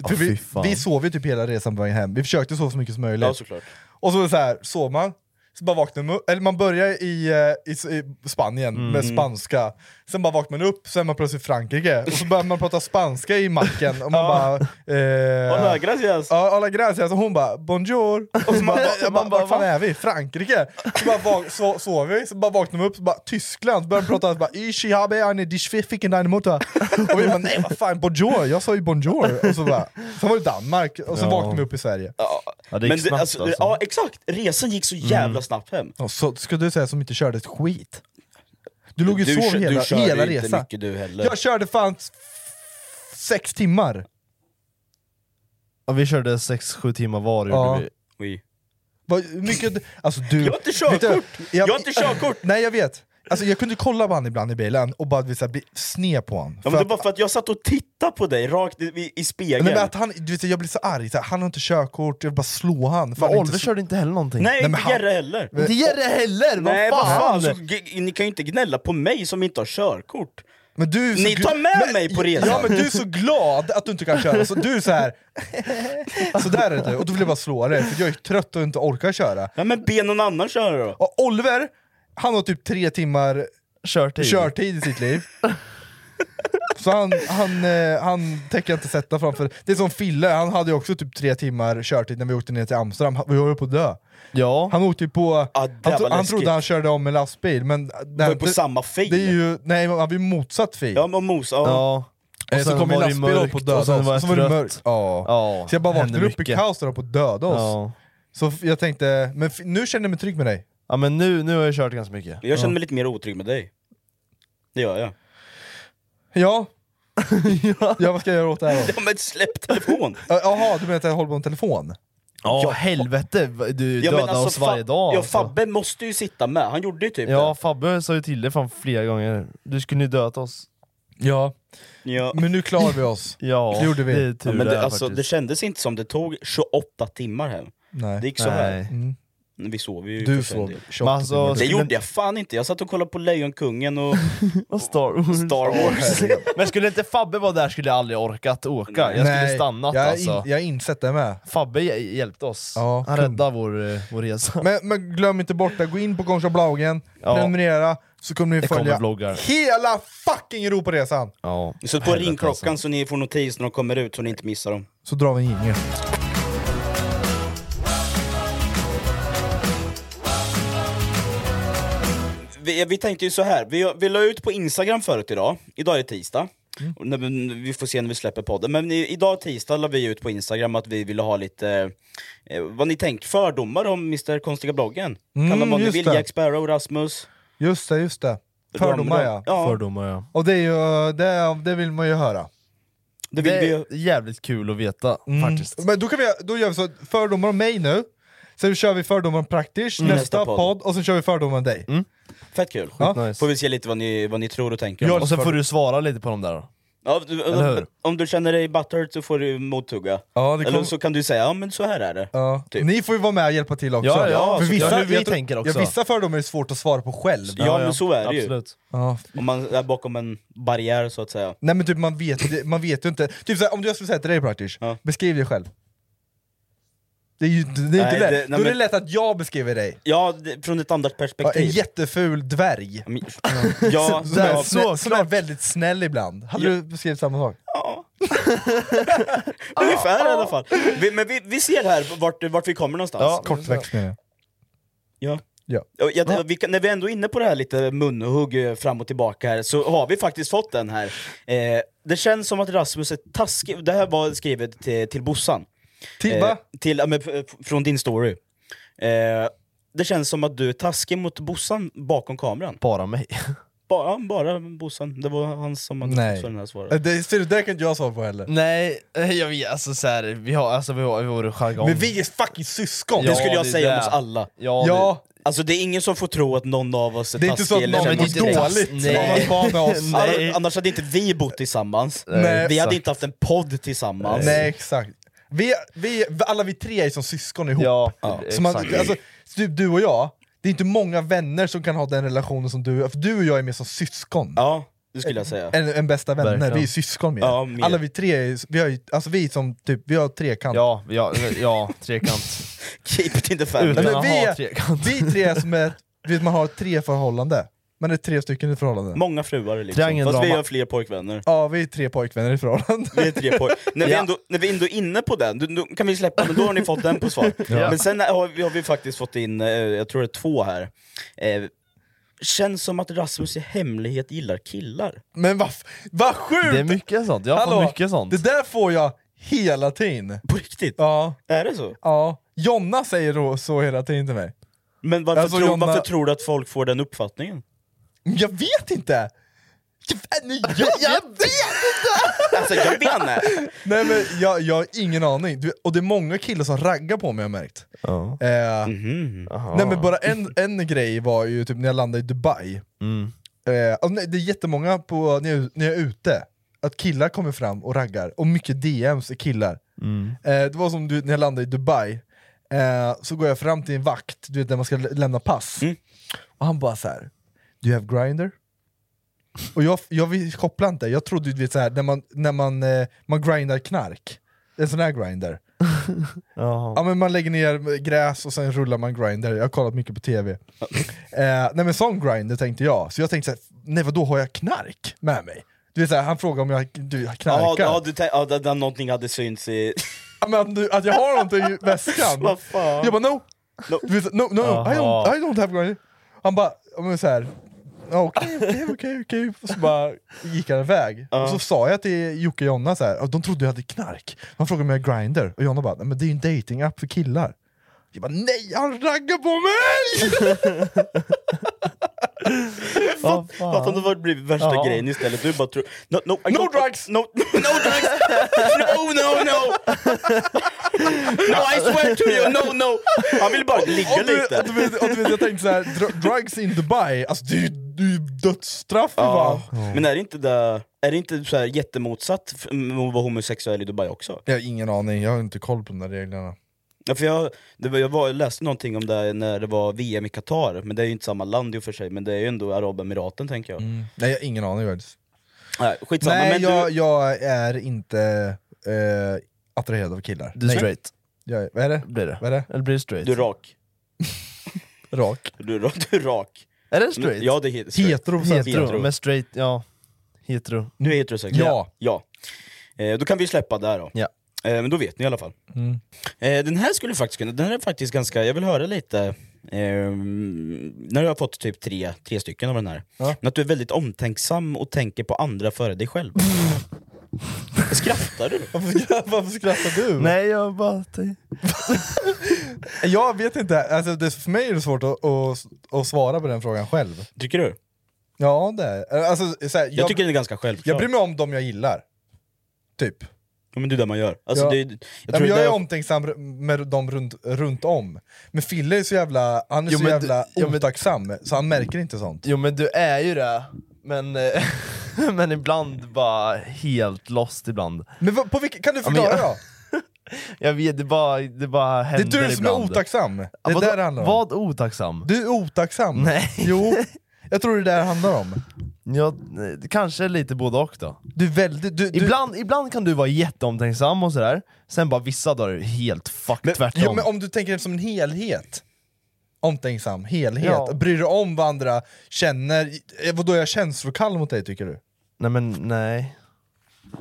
För fy vi, fan. vi sov ju typ hela resan på vägen hem, vi försökte sova så mycket som möjligt. Ja, såklart. Och så, var det så här, sov man, så bara vaknar man upp- eller man börjar i, eh, i, i Spanien med spanska, sen bara vaknar man upp, sen är man plötsligt i Frankrike, och så börjar man prata spanska i macken, och man bara... Eh, Hola, gracias! Ja, alla gränser. Alltså hon bara “bonjour” och så bara, jag bara, Man bara, “vart fan va?" är vi? Frankrike?” Så bara vak- so- sov vi, så bara vaknade vi upp, så bara “Tyskland” så började de prata så bara “Ich habe eine dich ficken deine Mutter” och vi bara “nej vad fan, bonjour, jag sa ju bonjour” och så bara, sen var det Danmark, och så Ja. vaknade vi upp i Sverige. Ja, det gick snabbt alltså, alltså. Ja, exakt! Resan gick så Mm. jävla snabbt hem. Ja, så ska du säga som inte körde ett skit? Du låg ju och kö- sov hela, körde hela inte resan. mycket du heller. Jag körde fan s- sex timmar. Ja, vi körde 6-7 timmar var Ja. gjorde vi. Oui. Vad mycket... Alltså du... Jag har inte körkort! Vet du, Jag har inte körkort! Nej jag vet! Alltså jag kunde kolla på han ibland i bilen och bara du vet, så här, bli sned på han. Ja, men det var för att jag satt och tittade på dig rakt i, i spegeln. Nej, men att han, du vet, jag blir så arg, så här, han har inte körkort, jag vill bara slå han. för Men han är Oliver inte så- körde inte heller någonting. Nej, men inte han- Gerre heller! Inte Jerry heller! Nej, vad fan! Så, g- ni kan ju inte gnälla på mig som inte har körkort. Men du är så Ni gl- tar med Men- mig på resan. Ja men du är så glad att du inte kan köra, så du är så här. så där är du, och då vill jag bara slå dig, för jag är trött och inte orkar köra. Ja, men be någon annan köra då! Och Oliver, han har typ tre timmar Körtid. körtid i sitt liv. Så han, han, eh, han tänker inte sätta framför... Det är som Fille, han hade ju också typ tre timmar körtid när vi åkte ner till Amsterdam, Han- vi höll på att dö. Ja. Han åkte ju på... Ja, han, det tro- var han läskigt. trodde han körde om en lastbil, men... Var Nej, ju på det, samma fil! det är ju... Nej, han var ju motsatt fil. Ja, men Mos, ja. ja. Eh, så kom en det lastbil och höll på att döda och sen var oss, jag så var det trött. mörkt. Ja. Ja, Så jag bara hände vaknade upp i mycket. kaos och höll på att döda oss. Ja. Så f- jag tänkte, men f- nu känner jag mig trygg med dig. ja men nu, nu har jag kört ganska mycket. Jag känner mig lite mer otrygg med dig. Det gör jag. Ja. ja. vad ska jag göra åt det här då? Ja, men släpp telefon! Ja, Jaha, du menar att jag håller på en telefon? Ja, Ja, helvete, du dödar oss Fa- varje dag ja, alltså. Fabbe måste ju sitta med, han gjorde ju typ Ja, Fabbe sa ju till dig fan flera gånger, du skulle ju dödat oss. Ja. det. Ja. Men nu klarar vi oss. Ja, Det gjorde vi. det är tur Ja, men det, här, alltså, det faktiskt. kändes inte som det tog 28 timmar hem. Nej. Det gick så här. Nej. Mm. Vi sov ju Du för sig en sov del. 28 Men alltså, Det timmar. gjorde jag fan inte, jag satt och kollade på Lejonkungen och Och Star Wars. Star Wars. Men skulle inte Fabbe vara där skulle jag aldrig orkat åka, jag skulle Nej, stannat jag har alltså. In, jag har insett det med. Fabbe hj- hjälpte oss, Ja, han kung. räddade vår, eh, vår resa. Men, men glöm inte bort att gå in på Konstiga bloggen, Ja. prenumerera, så kommer ni Det kommer följa vloggar. hela fucking Europaresan! Ja. Så på Helvete, ringklockan alltså. så ni får notis när de kommer ut så ni inte missar dem. Så drar vi en jingel. vi, vi tänkte ju så här. Vi, vi la ut på Instagram förut idag, idag är det tisdag. Mm. Och när vi- Vi får se när vi släpper podden, men i, idag tisdag la vi ut på Instagram att vi ville ha lite, eh, vad ni tänker, fördomar om Mr Konstiga bloggen. kan man Mm, vara ni just vill, det. Jack Sparrow, Rasmus. Just det, just det. Ram- Fördomar ram- ja. ja. alltså. Fördomar ja. Och det, är ju, det, det vill man ju höra. Det, är jävligt kul att veta faktiskt. Men då, kan vi, då gör vi så, fördomar om mig nu, sen kör vi fördomar om praktiskt, Mm. nästa Nästa podd. podd. och sen kör vi fördomar om dig. Fett kul. Skitnice. Får vi se lite vad ni, vad ni tror och tänker. om Ja, oss. och sen får du svara lite på dem där då. Ja, du, Eller hur? om, om du känner dig buttered så får du mottugga. Ja, det Eller kom- så kan du säga ja men så här är det. Ja. Ni får ju vara med och hjälpa till också. Ja, ja, För så- vissa, ja, vi jag tror- tänker också. Ja, vissa fördomar är svårt att svara på själv. Ja, men så är det ju. Ja. Om man är bakom en barriär så att säga. Nej men typ man vet, man vet ju inte. Typ såhär, om jag skulle säga till dig praktiskt, beskriv dig själv. Det är ju det är inte Nej, lätt. det- nej, Då är det men- lätt att jag beskriver dig. Ja, det, från ett annat Ja, en perspektiv. jätteful dverg. Men- Ja, som, är, ja, snä, som är väldigt snäll ibland. Hade Ja. du beskrivit samma sak? ungefär i alla fall. Vi, men vi, vi ser här vart, vart vi kommer någonstans. Kortväxt menar jag. Ja. Ja. Och Jag, vi, kan- när vi ändå är inne på det här lite munhugg eh, fram och tillbaka här, så har vi faktiskt fått den här. Eh, det känns som att Rasmus är taskig, det här var skrivet till, till Bossan. Till Eh, va? till, ja, men, f- f- Från din story. Eh, det känns som att du är taskig mot Bossan bakom kameran. Bara mig. Bara, ja, bara Bossan, det var han som hade fått för den här Eh, svaret. Det, ser du, det kan inte jag svara på heller. Nej, eh, jag vet, alltså så här, vi har alltså vi har, vi har jargong. Men vi är fucking syskon! Ja, det skulle jag det är säga om det. oss alla. Ja, Ja. Alltså det är ingen som får tro att någon av oss är Det är inte så att taskig eller någon känner mår sig taskig. dåligt av att vara med oss. Ann- Annars hade inte vi bott tillsammans, Nej, vi exakt. hade inte haft en podd tillsammans. Nej exakt. Vi, vi, alla vi tre är som syskon ihop. Ja, eh, Så man, exakt. alltså, typ du och jag, det är inte många vänner som kan ha den relationen som du För du och jag är mer som syskon. Ja, det skulle jag säga. En, en bästa vänner, Verkligen. vi är syskon mer. Ja, mer. Alla vi tre, är, vi, har, ju- alltså, vi, är som, typ, vi har trekant. Ja, ja, ja trekant. Keep it in the Utan family. Eller att vi ha är- trekant. Vi tre är som är, du vet, man har tre förhållande. Man är tre stycken i förhållande. Många fruar liksom, Triangeldrama. fast vi har fler pojkvänner. Ja, vi är tre pojkvänner i förhållande. Vi är tre poj- när, vi Ja. ändå, när vi ändå är inne på den, då, då kan vi släppa den, då har ni fått den på svar. Men sen har vi, har vi faktiskt fått in, eh, jag tror det är två här. Eh, känns som att Rasmus i hemlighet gillar killar. Men vad va sjukt! Det är mycket sånt, jag har fått mycket sånt. Det där får jag hela tiden. På riktigt? Ja, Är det så? ja. Jonna säger då så hela tiden till mig. Men varför, Alltså, tror- Jonna- varför tror du att folk får den uppfattningen? Men Jag vet inte! Jag, nej, jag, jag vet! Alltså jag menar! Nej men jag, jag har ingen aning. Du, och det är många killar som raggar på mig har jag märkt. Ja. Eh, Mhm. Nej men bara en, en grej var ju typ när jag landade i Dubai. Mm. Eh, alltså, nej, det är jättemånga på, när, jag, när jag är ute, att killar kommer fram och raggar, och mycket DMs är killar. Eh, det var som du, vet, när jag landade i Dubai, eh, så går jag fram till en vakt, du vet när man ska lä- lämna pass, Mm. och han bara så här. Do you have grinder? Och jag, jag vill- kopplar inte, jag trodde du vet så här, när man, när man, eh, man grindar knark, en sån här grinder. Ja men man lägger ner gräs och sen rullar man grinder, jag har kollat mycket på tv. eh, nej men sån grinder tänkte jag, så jag tänkte såhär, nej vadå har jag knark med mig? Du vet såhär, han frågar om jag du, jag Ja, knarkar, ja, du tänk- ja, att att någonting hade synts i... Ja, men att, du, att jag har någonting i väskan. Vad fan? Jag bara no! No. Du vet, så- no, no, I, Jaha. don't, I don't have grinder. Han bara, ja, men såhär, ja, okej, okej, okej, okej. Och så bara gick han iväg. Och så sa jag till Jocke och Jonna så här, ja, de trodde jag hade knark. De frågade om jag är grinder, och Jonna bara, nej, men det är ju en datingapp för killar. Jag bara, nej han raggar på mig! Ja, Att han hade blivit värsta Ja. grejen istället, du bara tror... No, no, I No don't- drugs! No, no drugs! No, no, no! No, I swear to you, no, no! Han vill bara ligga Och du, och du, lite. vet, och du vet, jag tänkte såhär, dr- drugs in Dubai, alltså det är ju- det är ju dödsstraff för Ja. fan. Men är det inte, det, är det inte så här jättemotsatt f- mot att vara homosexuell i Dubai också? Jag har ingen aning, jag har inte koll på de där reglerna. Ja, för jag, det var, jag var, läste någonting om det här när det var VM i Qatar, men det är ju inte samma land i och för sig, men det är ju ändå Arabemiraten tänker Mm. jag. Nej jag har ingen aning faktiskt. Nej, skitsamma, Nej, men du... jag, jag är inte eh, attraherad av killar. Du är Nej. straight, Jag, är- vad är det? blir det. Vad är det? Eller blir det straight? Du är rak. Rak? Du, är ra- du är rak. är det straight? Ja, det är he- straight. Hetero? hetero. hetero. Men straight, ja. Hetero. Nu är heterosexuell. Ja. ja. Eh, då kan vi släppa där då. Ja. Eh, men då vet ni i alla fall. Mm. Eh, den här skulle faktiskt kunna, den här är faktiskt ganska, jag vill höra lite ehm, när du har fått typ tre, tre stycken av den här, Ja. men att du är väldigt omtänksam och tänker på andra före dig själv. Skrattar du? Varför skrattar du? Nej jag bara... jag vet inte, alltså, det, för mig är det svårt att, att, att svara på den frågan själv. Tycker du? Ja det är alltså, så här, Jag tycker det är ganska självklart. Jag bryr mig om dem jag gillar. Typ. Ja, men det är det man gör. Alltså, ja. det, Nej, jag men tror det jag där- är omtänksam r- med dem runt, runt om. Men Fille är så jävla, han är Jo, så men du- jävla jo, men- otacksam, så han märker inte sånt. Jo men du är ju det, men, eh, men ibland bara helt lost ibland. Men vad- på vilket, kan du Ja, men förklara jag- då? Jag vet, det bara, det bara Det är händer du som är ibland. otacksam. Det Ja, är vad, där det handlar om. Vad otacksam? Du är otacksam. Nej. Jo, jag tror det där handlar om. Ja, eh, kanske lite både och då. Du är väldigt... Du, du, Ibland, ibland kan du vara jätteomtänksam och sådär, sen bara vissa dagar är du helt fuck tvärtom. Jo, men om du tänker det som en helhet. Omtänksam, helhet. Ja. Bryr dig om vad andra känner. Eh, Vadå, är jag känslokall mot dig tycker du? Nej men nej.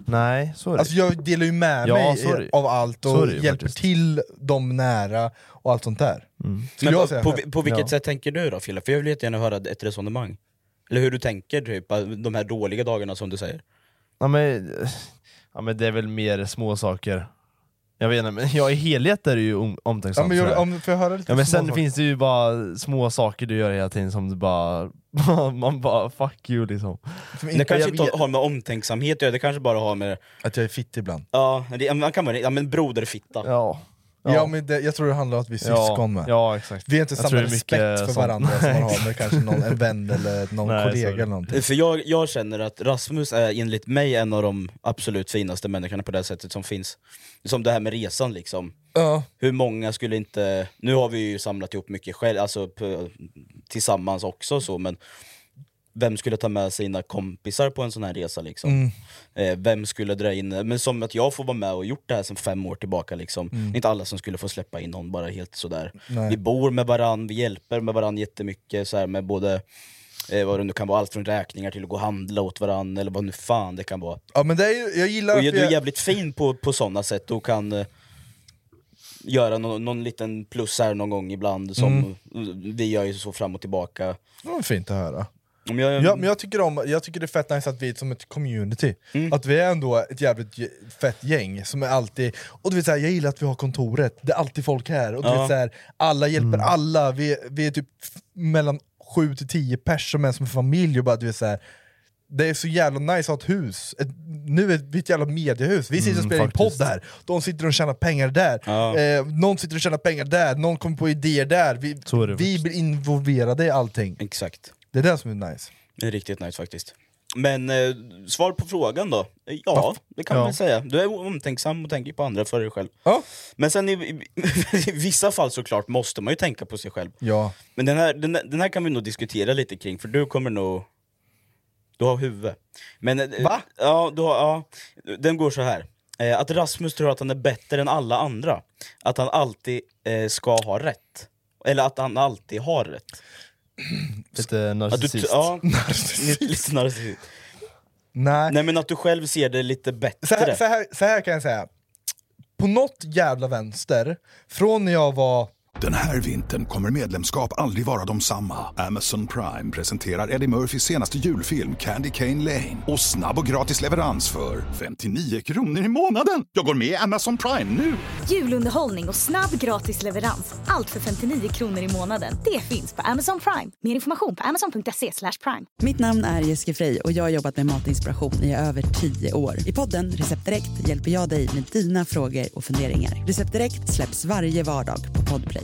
Nej, så är det. Alltså jag delar ju med Ja, mig så är det ju. av allt Så och är det ju hjälper faktiskt. Mm. till de nära och allt sånt där. Skulle Men jag på, säga på, själv. på vilket Ja. sätt tänker du då Fille? För jag vill jättegärna höra ett resonemang. Eller hur du tänker, typ, de här dåliga dagarna som du säger. Ja men, eh, ja men det är väl mer små saker. Jag vet inte, men jag i helhet är det ju om, omtänksam. Ja, men jag, sådär. om, får jag höra lite ja, men små sen saker? finns det ju bara små saker du gör hela tiden som du bara, man bara fuck you liksom. Som Det inte- kanske jag inte vet har med omtänksamhet att göra, det kanske bara har med... Att jag är fitt ibland. Ja, det, man kan vara ja, men broderfitta. Ja. Ja, men det, jag tror det handlar om att vi är Ja, syskon med. ja, exakt. Vi har inte Jag samma tror det är respekt mycket för sånt. varandra som man har Nej, med kanske någon, en vän eller någon Nej, så är kollega det. eller någonting. För jag, jag känner att Rasmus är enligt mig en av de absolut finaste människorna på det här sättet som finns. Som det här med resan liksom. Ja. Hur många skulle inte... Nu har vi ju samlat ihop mycket själv, alltså p- tillsammans också så, men vem skulle ta med sina kompisar på en sån här resa liksom? Mm. Eh, vem skulle dra in... Men som att jag får vara med och gjort det här sedan fem år tillbaka liksom. Det är inte alla som skulle få släppa in någon bara helt sådär. Mm. Nej. Vi bor med varann, vi hjälper med varann jättemycket så här med både eh, vad det nu kan vara, allt från räkningar till att gå och handla åt varann eller vad nu fan det kan vara. Ja men det är ju, jag gillar Och att ju- du är jag, jävligt fin på, på sådana sätt och kan eh, göra någon, någon liten plus här någon gång ibland som Mm. vi gör ju så fram och tillbaka. det var fint att höra. Om jag, Ja, men jag, tycker om, jag tycker det är fett nice att vi är som ett community, att vi är ändå ett jävligt ge- fett gäng som är alltid... Och du vet, så här, jag gillar att vi har kontoret, det är alltid folk här, och du Ja. vet, så här, alla hjälper alla, vi, vi är typ f- mellan sju till tio pers som är som en familj, och bara, du vet, så här, det är så jävla nice att ha ett hus, ett, nu är vi ett jävla mediehus, vi sitter och spelar in podd här, de sitter och tjänar pengar där, Ja. eh, någon sitter och tjänar pengar där, någon kommer på idéer där, vi, Så är det vi blir involverade i allting. Exakt. Det är det som är nice. Det är riktigt nice faktiskt. Men eh, svar på frågan då? Eh, Ja, det kan man väl säga. Du är omtänksam och tänker på andra för dig själv. Ja. Men sen i, i, i vissa fall såklart måste man ju tänka på sig själv. Ja. Men den här, den, här- den här kan vi nog diskutera lite kring, för du kommer nog... Du har huvud. Men, eh, Va? Ja, du har, ja, den går så här. Eh, Att Rasmus tror att han är bättre än alla andra. Att han alltid eh, ska ha rätt. Eller att han alltid har rätt. Lite Att du, narcissist. ja, lite, lite narcissist. Nej. Nej men att du själv ser det lite så, bättre. här, så, här, så här kan jag säga. På något jävla vänster, från när jag var... Den här vintern kommer medlemskap aldrig vara de samma. Amazon Prime presenterar Eddie Murphys senaste julfilm Candy Cane Lane. Och snabb och gratis leverans för 59 kronor i månaden. Jag går med i Amazon Prime nu! Julunderhållning och snabb gratis leverans. Allt för 59 kronor i månaden. Det finns på Amazon Prime. Mer information på amazon.se slash prime. Mitt namn är Jessica Frey och jag har jobbat med matinspiration i över 10 år. I podden Recept Direkt hjälper jag dig med dina frågor och funderingar. Recept Direkt släpps varje vardag på Podplay.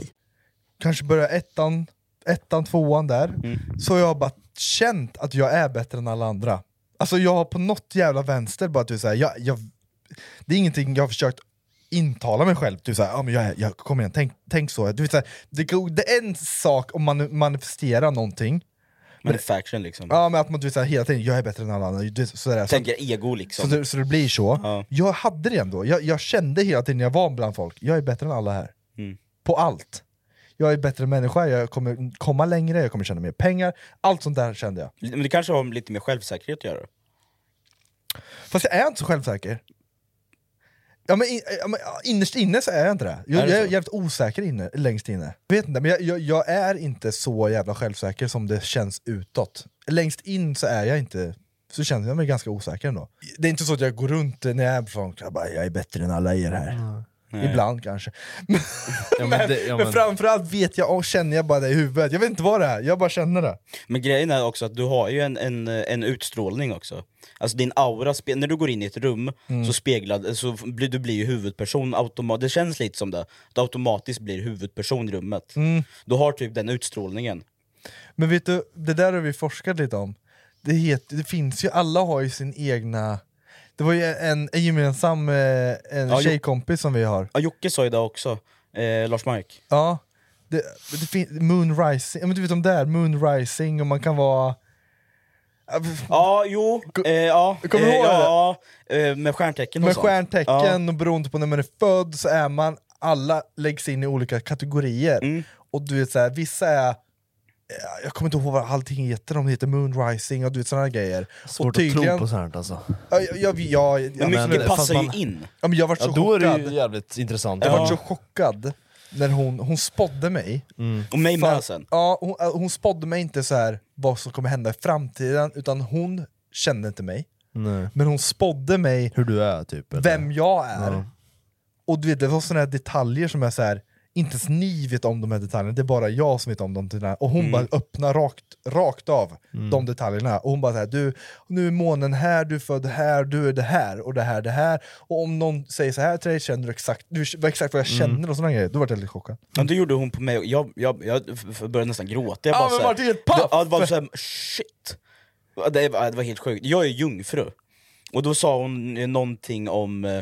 Kanske börja ettan, ettan tvåan där. Så jag har bara känt att jag är bättre än alla andra. Alltså jag har på något jävla vänster bara typ såhär, jag, jag, det är ingenting jag har försökt intala mig själv. Typ såhär, ja men jag, är- jag, kom igen, tänk, tänk så. Du vet, såhär, det, kan- det är en sak om man manifesterar någonting, Manufacturing liksom. ja, men att man du vet, såhär, hela tiden, jag är bättre än alla andra. Du vet, sådär, så, Tänker ego Så liksom. det, så det blir så. Ja. Jag hade det ändå, jag, jag kände hela tiden när jag var bland folk, jag är bättre än alla här. Mm. På allt. Jag är bättre människa, jag kommer komma längre, jag kommer tjäna mer pengar. Allt sånt där kände jag. Men det kanske har med lite mer självsäkerhet att göra. Fast jag är inte så självsäker. Ja, men, in, ja, men ja, innerst inne så är jag inte det. Jag Är är, det jag är så? jävligt osäker inne, längst inne. Vet inte, men jag, jag, jag är inte så jävla självsäker som det känns utåt. Längst in så är jag inte... Så känner jag mig ganska osäker ändå. Det är inte så att jag går runt när jag är på jag bara, jag är bättre än alla er här. Nej. Ibland kanske. Ja, men, men det- ja, men men- framförallt vet jag och känner jag bara det i huvudet. Jag vet inte vad det är, jag bara känner det. Men grejen är också att du har ju en, en, en utstrålning också. Alltså din aura, spe- när du går in i ett rum Mm. så speglar, så blir, du blir ju huvudperson automatiskt, det känns lite som det. Du automatiskt blir huvudperson i rummet. Mm. Du har typ den utstrålningen. Men vet du, det där har vi forskat lite om. Det, heter, det finns ju, alla har ju sin egna... Det var ju en, en gemensam eh, en Ja, jo- tjejkompis som vi har. Ja, Jocke sa ju det också, eh, Lars Mark. Ja, det, det fin- moonrising, ja, men du vet om där, moonrising och man kan vara... Ja, jo, eh, ja. Kommer du eh, ihåg ja, eh, med stjärntecken och Med sånt. stjärntecken Ja. och beroende på när man är född så är man, alla läggs in i olika kategorier. Mm. Och du vet så här, vissa är jag kommer inte ihåg vad allting heter, om det heter Moonrising och du vet sådana här grejer. Svårt och att tro på sånt alltså. Ja, jag, jag, jag, jag, Men mycket absolut. passar ju in. Ja, men jag var så Ja, då är det chockad. ju jävligt intressant. Jag var så chockad när hon, hon spådde mig. Och mig med För- sen. Ja, hon, äh, hon spådde mig inte så här vad som kommer hända i framtiden, utan hon kände inte mig. Nej. Men hon spådde mig Hur du är typ. eller? vem jag är. Ja. Och du vet, det var sådana här detaljer som är så här. inte ens ni vet om de här detaljerna, det är bara jag som vet om de detaljerna. Och hon Mm. bara öppnar rakt, rakt av Mm. de detaljerna. Och hon bara så här, du, nu är månen här, du är född här, du är det här och det här, det här. Och om någon säger så här till dig känner du exakt, du, vet exakt vad Mm. jag känner och sådana grejer. Då vart jag lite chockad. Ja, det gjorde hon på mig, och jag, jag, jag f- f- började nästan gråta. Jag Ja, bara men så här- Martin, helt paff! Ja, det var så här, shit. Ja, Det var, det var helt sjukt. Jag är jungfru. Och då sa hon eh, någonting om... eh,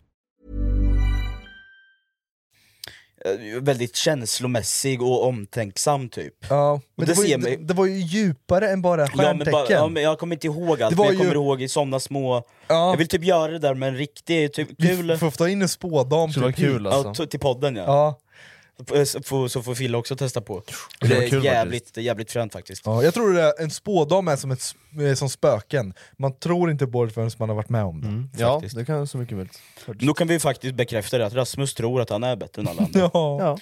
eh, väldigt känslomässig och omtänksam typ. Ja, Och men det det, var ser ju, mig- det, det var ju djupare än bara Ja, men stjärntecken. bara, ja, men jag kommer inte ihåg allt, Det var men jag ju- kommer ihåg i sådana små... Jag vill typ göra det där med en riktig... Typ, kul... Vi f- får ta in en spådam. Skulle vara typ hit. kul, alltså. Ja, t- till podden, ja. F- Så får, så får Fille också testa på. Det, vara är kul, jävligt, det är jävligt fränt faktiskt. Ja, jag tror det är, en spådam är som, ett, s- eh, som spöken, man tror inte på det förrän man har varit med om det. Mm. Ja, det kan så mycket möjligt. Nu kan vi ju faktiskt bekräfta det, att Rasmus tror att han är bättre än alla andra. Ja.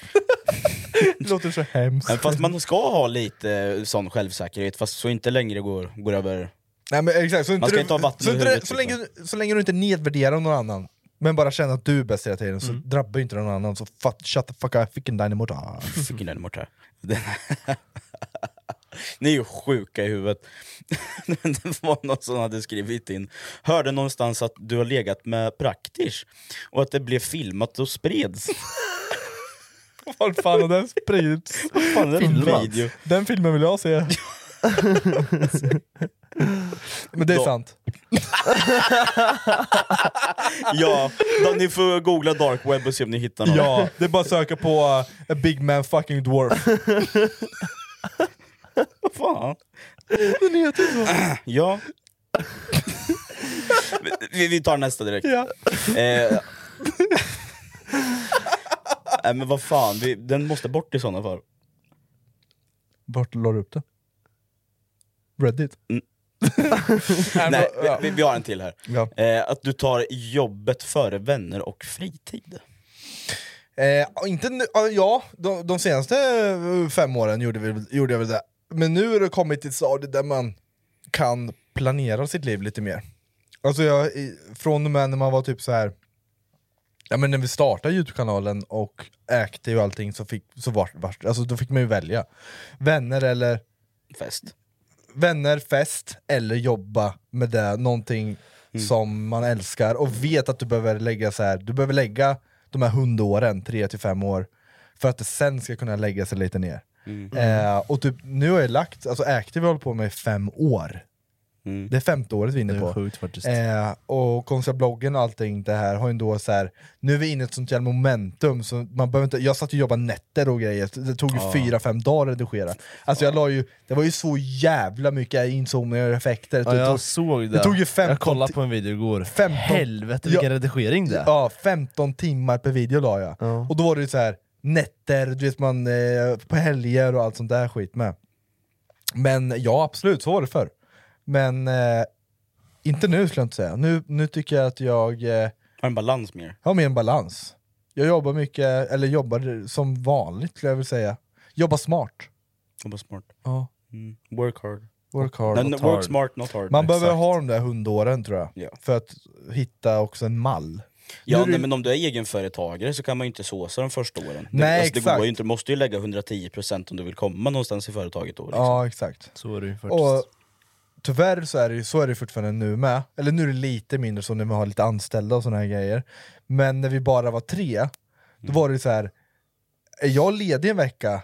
det låter så hemskt. Men Fast man ska ha lite eh, sån självsäkerhet, fast så inte längre går, går över... Nej, men exakt, så inte man ska du- inte ha vatten så, över inte du- huvudet, så, liksom. länge, du- så länge du inte nedvärderar någon annan, men bara känner att du är bäst hela tiden, Mm. så drabbar ju inte någon annan. Så fuck, shut the fuck up, ficken dynamo Ficken dynamo Ni är ju sjuka i huvudet. det var någon som hade skrivit in. Hörde någonstans att du har legat med praktisch och att det blev filmat och spreds. Vad fan har den spridits? fan är det för Filmat. video? Den filmen vill jag se. men det är Då- sant. ja, då, ni får googla dark web och se om ni hittar något. Ja, det är bara att söka på uh, a big man fucking dwarf. Vad fan? Den heter så. Ja. vi, vi tar nästa direkt. Ja. Eh, Nej men vad fan, vi, den måste bort i sådana fall. Vart la du upp den? Reddit? Nej, vi, vi, vi har en till här. Ja. Eh, att du tar jobbet före vänner och fritid. Eh, inte nu, ja, ja, de, de senaste eh, fem åren gjorde, vi, gjorde jag väl det. Men nu har det kommit till ett stadie där man kan planera sitt liv lite mer. Alltså jag, i- från och med när man var typ så här. Ja men när vi startade Youtube-kanalen och ägde och allting så fick, så var, var, alltså då fick man ju välja. Vänner eller... Fest. Vänner, fest eller jobba med det, någonting som man älskar och vet att du behöver lägga så här, du behöver lägga de här hundåren, 3-5 år, för att det sen ska kunna lägga sig lite ner. Mm. Eh, och typ, nu har jag lagt, alltså Active har hållit på med i fem år. Det är femte året vi är inne på. Eh, och konstiga bloggen och allting det här har ju ändå så här. nu är vi inne i ett sånt jävla momentum, så man behöver inte, jag satt ju och jobbade nätter och grejer, det tog ju Ja. fyra, fem dagar att redigera. Alltså jag la ju, det var ju så jävla mycket inzoomningar och effekter. typ Ja, Det jag tog- såg det. det tog ju 15 jag kollade på en video igår. 15 Helvete vilken Ja. redigering det är. Ja, 15 timmar per video la jag. Och då var det ju så här nätter, du vet man eh, på helger och allt sånt där skit med. Men ja, absolut, så var det förr. Men eh, inte nu skulle jag inte säga. Nu, nu tycker jag att jag eh, Har en balans mer. har mer en balans. Jag jobbar mycket, eller jobbar som vanligt skulle jag vilja säga. Jobba smart. Jobba smart. Ja. Mm. Work hard. Work hard. Men work smart, not hard. Man behöver ha de där hundåren tror jag. Ja. För att hitta också en mall. liksom. Nu Ja, är det nej, ju- men om du är egenföretagare så kan man ju inte såsa de första åren. Nej, det, alltså, det exakt. går ju inte, du måste ju lägga 110% om du vill komma någonstans i företaget då. Liksom. Ja, exakt. Så är det ju Och tyvärr så är det ju så är det fortfarande nu med. Eller nu är det lite mindre så när vi har lite anställda och såna här grejer. Men när vi bara var tre, Mm. då var det ju så här. är jag ledig en vecka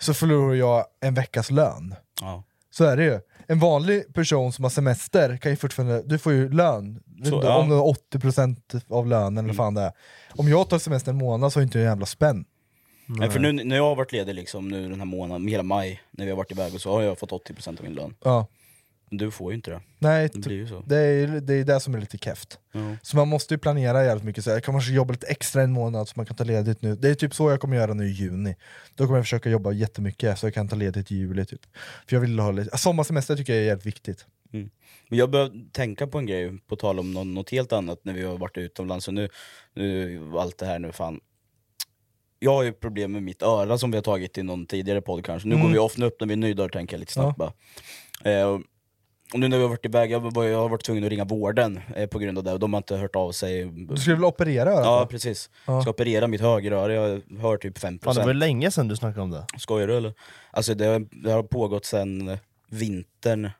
så förlorar jag en veckas lön. Ja. Så är det ju. En vanlig person som har semester kan ju fortfarande, du får ju lön. Så, Om ja. det är 80% av lönen eller vad fan det är. Om jag tar semester en månad så har jag inte en jävla spänn. Nej. För nu när jag har varit ledig liksom, nu den här månaden, hela maj, när vi har varit iväg och så har jag fått 80% av min lön. Ja. Men du får ju inte det. Nej, det blir ju så. Det är ju- det är det som är lite keft. Ja. Så man måste ju planera jävligt mycket, så jag kan kanske jobba lite extra en månad så man kan ta ledigt nu. Det är typ så jag kommer göra nu i juni. Då kommer jag försöka jobba jättemycket så jag kan ta ledigt i juli. Typ. För jag vill ha lite... Sommarsemester tycker jag är jävligt viktigt. Mm. Men jag började tänka på en grej, på tal om nå- något helt annat, när vi har varit utomlands och nu, nu allt det här nu fan. Jag har ju problem med mitt öra som vi har tagit i någon tidigare podd kanske. Nu Mm. går vi off, nu öppnar vi en ny dörr tänker jag lite snabbt bara. Eh, och- och nu när vi har varit iväg, jag, var, jag har varit tvungen att ringa vården eh, på grund av det, och de har inte hört av sig. Du skulle väl operera örat? Ja va? precis, Ja. ska operera mitt högeröra, jag hör typ 5% Fan, det var ju länge sedan du snackade om det. Skojar du eller? Alltså det, har- det har pågått sedan vintern,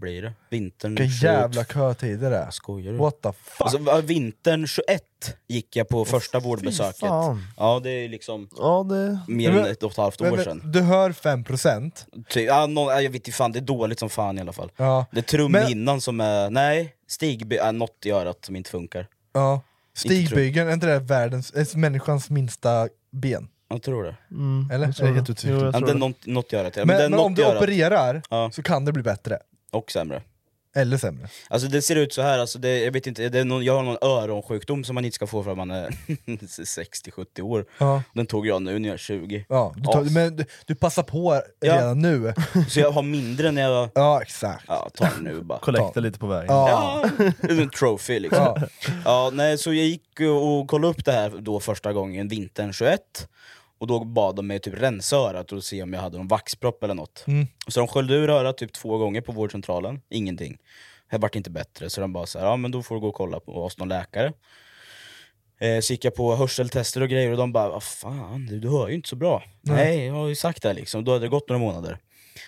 blir det? Vintern Vilka 22. jävla kötider det är. Skojar du? What the fuck? Alltså, va- vintern 21 gick jag på första vårdbesöket. fan. Ja det är liksom Ja, det... mer Men- än ett och ett halvt men- år men- sedan. Du hör 5%? Ty, ja, nå- ja, jag vet inte fan, det är dåligt som fan i alla fall. Ja. Det är trumhinnan som är, nej, stigby, äh, något i örat som inte funkar. Ja. Inte tror- Stigbygeln, är inte det världens, är människans minsta ben? Jag tror det. Mm, Eller? jag tror Är det helt det. utvecklat? Jo, jag Ja, tror det är det. något, något i örat. ja. Men, det är men, något om du i örat. opererar Ja. så kan det bli bättre, Och sämre. eller sämre. Alltså det ser ut så här, alltså det, jag vet inte, det är någon, jag har någon öronsjukdom som man inte ska få för att man är 60-70 år. Ja. Den tog jag nu när jag är 20. Ja, du tar, Ja. Men du, du passar på Ja. redan nu. Så jag har mindre när jag... Ja, exakt. Ja, ta den nu bara. Collecta lite på vägen. Ja, en trophy liksom. Ja. nej, så jag gick och kollade upp det här då första gången, vintern 21. Och då bad de mig typ rensa örat och se om jag hade någon vaxpropp eller något. Mm. Så de sköljde ur örat typ två gånger på vårdcentralen, ingenting. Det vart inte bättre, så de bara så här, ja men då får du gå och kolla på hos någon läkare. Eh, så gick jag på hörseltester och grejer och de bara, vad fan du, du hör ju inte så bra. Nej. Nej, jag har ju sagt det här, liksom, då hade det gått några månader.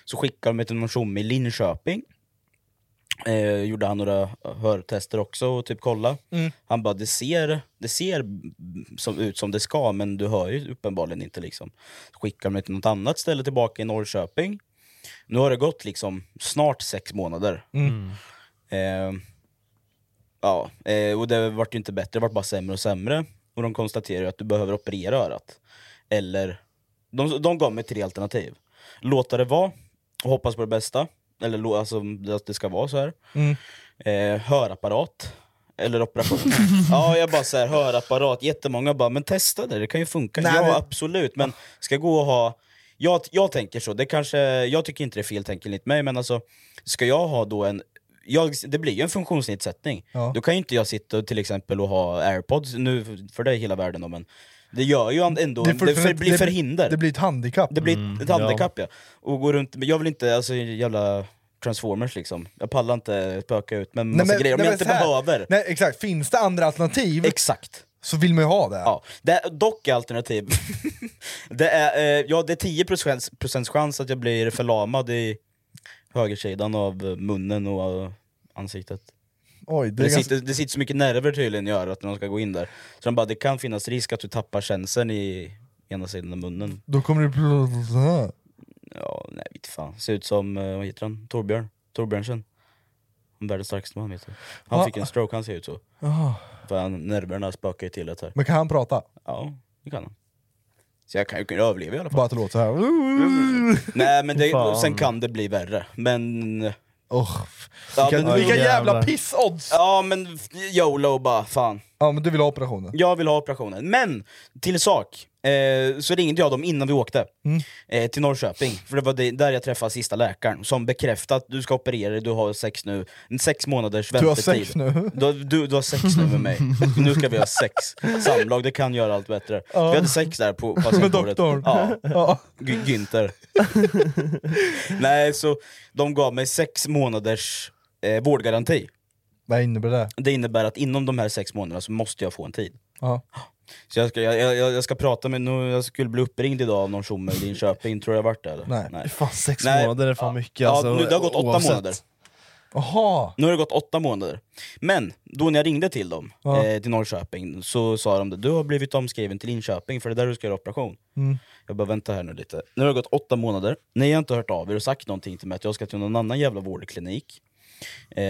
Så skickade de mig till någon tjomme i Linköping. Eh, gjorde han några hörtester också och typ kolla. Mm. Han bara, det ser, det ser som, ut som det ska men du hör ju uppenbarligen inte liksom. Skickade mig till något annat ställe tillbaka i Norrköping. Nu har det gått liksom snart sex månader. Mm. Eh, ja, eh, och det vart ju inte bättre, det vart bara sämre och sämre. Och de konstaterar ju att du behöver operera örat. Eller, de, de gav mig tre alternativ. Låta det vara och hoppas på det bästa. Eller lå- alltså, att det ska vara så här. Mm. Eh, hörapparat. Eller operation. ja, jag bara såhär, hörapparat. Jättemånga bara, men testa det, det kan ju funka. Nej, ja, men- absolut. Men ska jag gå och ha... Jag, jag tänker så, det kanske, jag tycker inte det är fel tänk enligt mig, men alltså ska jag ha då en... Jag, det blir ju en funktionsnedsättning. Ja. Då kan ju inte jag sitta och till exempel och ha airpods, nu för det är hela världen då, men det gör ju ändå, det, fortfarande- för, blir det- Mm, förhinder. Det blir ett handikapp. Det blir ett handikapp ja. Och gå runt, men jag vill inte, alltså jävla Transformers liksom. Jag pallar inte spöka ut med Nej, massa grejer om nej, jag inte så här- behöver. Nej, exakt. Finns det andra alternativ Exakt. så vill man ju ha det. Ja. Det är dock är alternativ. det, är, eh, ja, det är 10 procents chans att jag blir förlamad i högersidan av eh, munnen och eh, ansiktet. Oj, Det, det är ganska... sitter, det sitter så mycket nerver tydligen i örat när de ska gå in där. Så de bara, det kan finnas risk att du tappar känseln i ena sidan av munnen. Då kommer det bli så här. Ja, nej vet fan. Ser ut som, eh, vad heter han? Torbjörn? Torbjörnsen? Han Världens starkaste man heter han. Va? fick en stroke, han ser ut så. Jaha. För han, nerverna spökar ju till det här. Men kan han prata? Ja, det kan han. Så jag kan ju kunna överleva i alla fall. Bara att det låter så här. Mm. Nej men det, Fan. sen kan det bli värre. Men... Oh, ja, vilka- vilka jävla Jävlar. pissodds! Ja men f- YOLO bara, fan. Ja men du vill ha operationen? Jag vill ha operationen. Men, till sak. Eh, så ringde jag dem innan vi åkte Mm. eh, till Norrköping, för det var det, där jag träffade sista läkaren som bekräftade att du ska operera dig, du har sex nu, en sex månaders Du har väntetid. sex nu? Du, har- du, du har sex nu med mig, nu ska vi ha sex. Samlag, det kan göra allt bättre. Ja. Vi hade sex där på patientbordet. doktorn. Ja. Gy- Günther. Nej, så de gav mig sex månaders eh, vårdgaranti. Vad innebär det? Det innebär att inom de här sex månaderna så måste jag få en tid. Ja. Så jag ska, jag, jag, jag ska prata med, nu, jag skulle bli uppringd idag av någon tjomme i Linköping, tror jag vart det eller? Nej. Fan, sex Nej. månader är fan mycket Ja, alltså, nu, det har gått åtta oavsett. månader. Jaha! Nu har det gått åtta månader. Men, då när jag ringde till dem, Ja. eh, till Norrköping, så sa de det. Du har blivit omskriven till Linköping för det är där du ska göra operation. Mm. Jag bara vänta här nu lite. Nu har det gått åtta månader, ni har inte hört av er och sagt någonting till mig att jag ska till någon annan jävla vårdklinik. Eh,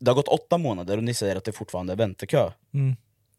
det har gått åtta månader och ni säger att det fortfarande är väntekö. Mm.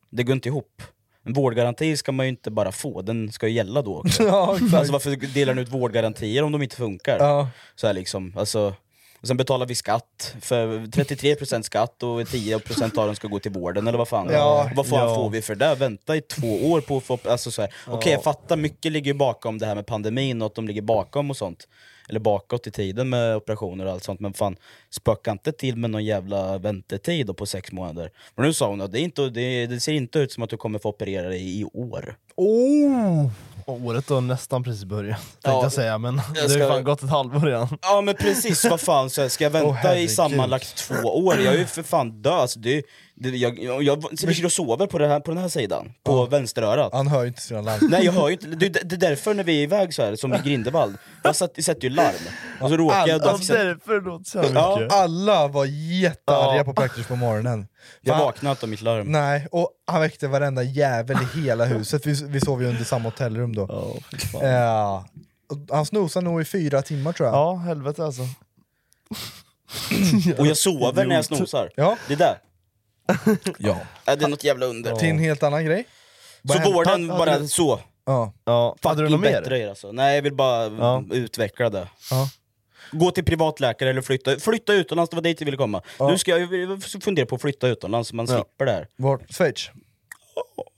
Det går inte ihop. En vårdgaranti ska man ju inte bara få, den ska ju gälla då också. Ja, exakt. alltså varför delar ni ut vårdgarantier om de inte funkar? Ja. Så här liksom, alltså, och sen betalar vi skatt, för 33% skatt och 10% av den ska gå till vården eller vad fan. Ja. vad fan Ja. får vi för det? Vänta i två år på att få... Alltså så här. Okej Ja. jag fattar, mycket ligger ju bakom det här med pandemin och att de ligger bakom och sånt. Eller bakåt i tiden med operationer och allt sånt. Men fan, spöka inte till med någon jävla väntetid då på sex månader. Men nu sa hon att det, är inte, det, det ser inte ut som att du kommer få operera dig i år. Oh! Året har nästan precis börjat, tänkte Ja. jag säga, men det har ska- ju fan gått ett halvår redan. Ja men precis, vad fan, så här, ska jag Åh, vänta i herregud. sammanlagt två år? Jag är ju för fan död. Alltså, det, det, jag, jag, jag ligger och sover på, det här, på den här sidan, på vänsterörat. Han hör ju inte sina larm. Nej jag hör ju inte, det, det det är därför när vi är iväg så här som i Grindevald, jag satt, sätter ju larm. Och så råkar jag... Alla- därför låter så Ja, alla var jättearga på Packers på morgonen. Jag Fan. vaknade inte av mitt larm. Nej, och han väckte varenda jävel i hela huset. Vi, vi sov ju under samma hotellrum då. Eh, och han snosade nog i fyra timmar tror jag. Ja, helvete alltså. Och jag sover när jag Idiot. snosar. Ja. Det där. Ja. Ja, det är något jävla under. Till en helt annan grej. Vad Så hände? vården Hade bara du- så. Ja. Ja. Hade du något bättre mer? Alltså. Nej jag vill bara Ja. utveckla det. Ja. Gå till privatläkare eller flytta, flytta utomlands, det var dit jag ville komma. Ja. Nu ska jag, jag fundera på att flytta utomlands så man Ja. slipper det här. Vart? Schweiz?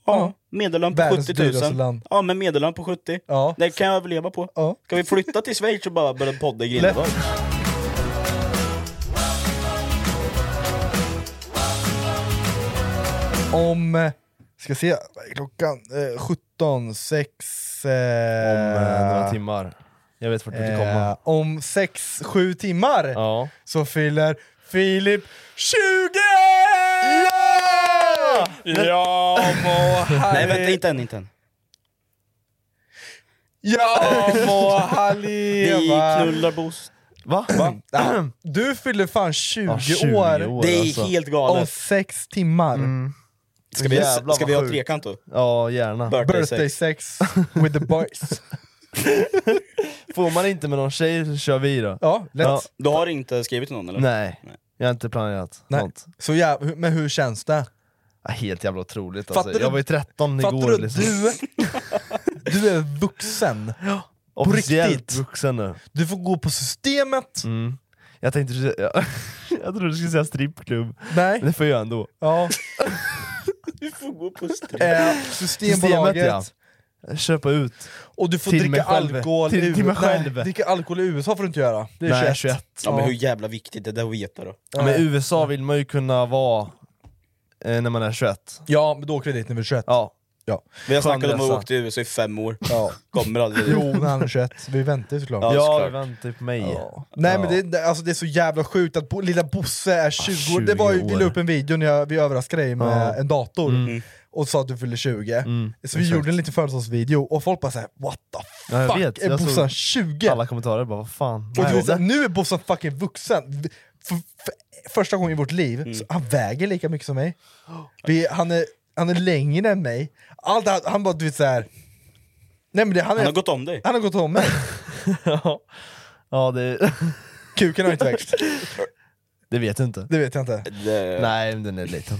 Ja. Medellön på Världens 70 dyraste 000. land. Ja, men medellön på 70. Ja. Det kan jag överleva på. Ja. Ska vi flytta till Schweiz och bara börja podda i Grindelwald? Om, eh, ska se, vad är klockan eh, 17, 6... Eh, Om eh, några timmar. Jag vet vart du vill komma. Eh, om 6-7 timmar Ja. så fyller Filip 20! Ja! Ja, må Nej Harry- vänta, inte än, inte än. Ja, må han leva! Vi knullar Bos. Va? Ah, Du fyller fan 20, Ja, 20 år, år. Mm. Det är alltså. helt galet. om 6 timmar. Ska vi, Jävlar, ska vi vad ha sjukt. trekant då? Ja, gärna. Birthday, Birthday sex. sex with the boys. Får man inte med någon tjej så kör vi då. Ja, lätt. Ja. Du har inte skrivit till någon eller? Nej, jag har inte planerat Nej. sånt. Så jäv, hu- men hur känns det? Ja, helt jävla otroligt Fattar alltså. du- Jag var ju 13 Fattar igår du? liksom. Du, du är vuxen. Officiellt riktigt. vuxen nu. Du får gå på systemet. Mm. Jag tänkte du jag, jag trodde du skulle säga strippklubb, Nej. men det får jag ändå. Ja. Du får gå på strejk. Eh, Systemet systembolaget. ja. Köpa ut. Och du får Till dricka mig själv. alkohol i Till- till mig USA. Nej, själv. Dricka alkohol i USA får du inte göra. Det är Nej, 21. 21. Ja men Ja. hur jävla viktigt är det att veta då? Ja. Men i USA vill man ju kunna vara eh, när man är 21. Ja, men då åker vi dit när vi är 21. Ja. Ja. Vi har snackat om Skönresa. att åka till USA i fem år. Ja. Kommer aldrig dit. Jo, när han är 21. Vi väntar ju såklart. väntar på mig. Nej men det, det- alltså, det är så jävla sjukt att bo, lilla Bosse är 20, år. Det var ju, vi la upp en video när jag, vi överraskade dig med Ah, Ja. en dator Mm. och sa att du fyllde 20. så vi exakt. gjorde en liten födelsedagsvideo och folk bara såhär what the Ja, jag fuck vet, är jag såg Bossan 20? Alla kommentarer bara, vad fan. Och vad du vet, hände? såhär, nu är Bossan fucking vuxen. V- För, för, första gången i vårt liv, så han väger lika mycket som mig. Vi, han, är, han är längre än mig. Allt, han, han bara du vet såhär... Nej, men det, han, Han är, har gått om dig. Han har gått om mig. Ja, det... Kuken har inte växt. Det vet du inte. Det vet jag inte. Nej, men den är liten.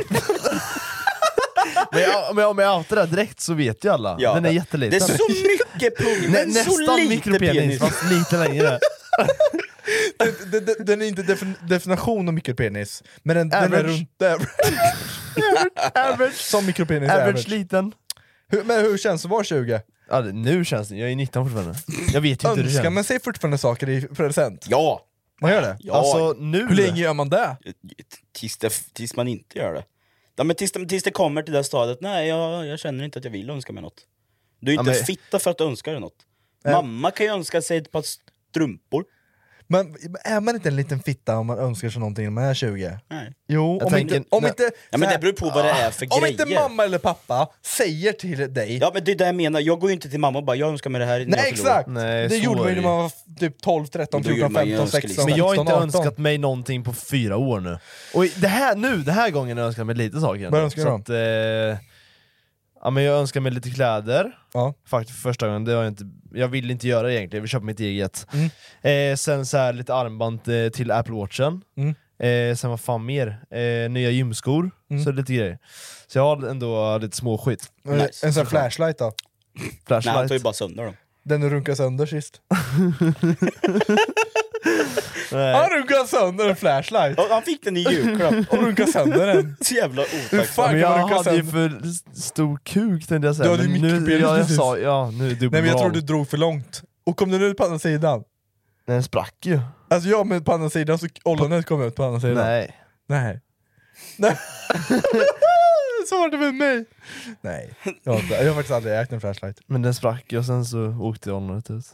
men jag, men om jag outar det här direkt så vet ju alla. Ja. den är jätteliten. Det är så mycket pung, Nä, men så nästan lite mikropenis, penis. fast lite längre. den, den, den är inte defin, definition av mikropenis, men den, den är Average. runt average. average. Som mikropenis är Average, average. liten. Hur, men hur känns det att vara 20? Ja, det- nu känns det, jag är 19 fortfarande. Jag vet ju inte hur det Önskar känns. man sig fortfarande saker i present? Ja! Man gör det? Ja. Alltså, nu... Hur länge gör man det? Tills, det, tills man inte gör det. Ja, men tills, det- tills det kommer till det stadiet, nej jag, jag känner inte att jag vill önska mig något. Du är Ja, inte men- fitta för att önska dig något. Mamma kan ju önska sig ett par strumpor. Men är man inte en liten fitta om man önskar sig någonting när man är 20? Nej. Jo, Jag om tänker- inte... Om nej. inte Ja, men så här- Ah, det beror på vad det är för Om grejer. inte mamma eller pappa säger till dig... Ja men det är det jag menar, jag går ju inte till mamma och bara jag önskar mig det här innan Nej jag förlorar." exakt! det gjorde man ju när man var typ 12, 13, Då gjorde 14, man ju 15, 16, önskelista. Men jag har inte 17, 18. önskat mig någonting på fyra år nu. Och i- det här, nu, det här gången önskar jag mig lite saker. Vad önskar Så du att, eh, ja, men Jag önskar mig lite kläder. Ja. Faktiskt för första gången, det har jag, inte, jag vill inte göra det egentligen, jag vill köpa mitt eget. Eh, sen så här, lite armband eh, till Apple Watchen. Mm. Eh, sen vad fan mer? Eh, nya gymskor, Mm. så lite grejer. Så jag har ändå lite småskit. Eh, En sån här flashlight då? Nej Flashlight. han tar ju bara sönder dem. Den du runkade sönder sist. Nej. Han runkade sönder en flashlight! Ja, han fick den i julklapp. Och runkade sönder den. Så jävla Hur otacksam. fan men kan jag man runka hade ju sönder? för s- stor kuk tänkte jag Du säga, hade ju men nu, mikropenis jag, jag precis. sa, ja, nu är det Nej men jag tror dubbelmoral. du drog för långt. Och kom den ut på andra sidan? Den sprack ju. Alltså jag med på andra sidan, så ollonet kom ut på andra sidan. Nej. Nej. Nej. så var det med mig! Nej, jag har, inte, jag har faktiskt aldrig ägt en flashlight. Men den sprack ju och sen så åkte ollonet ut.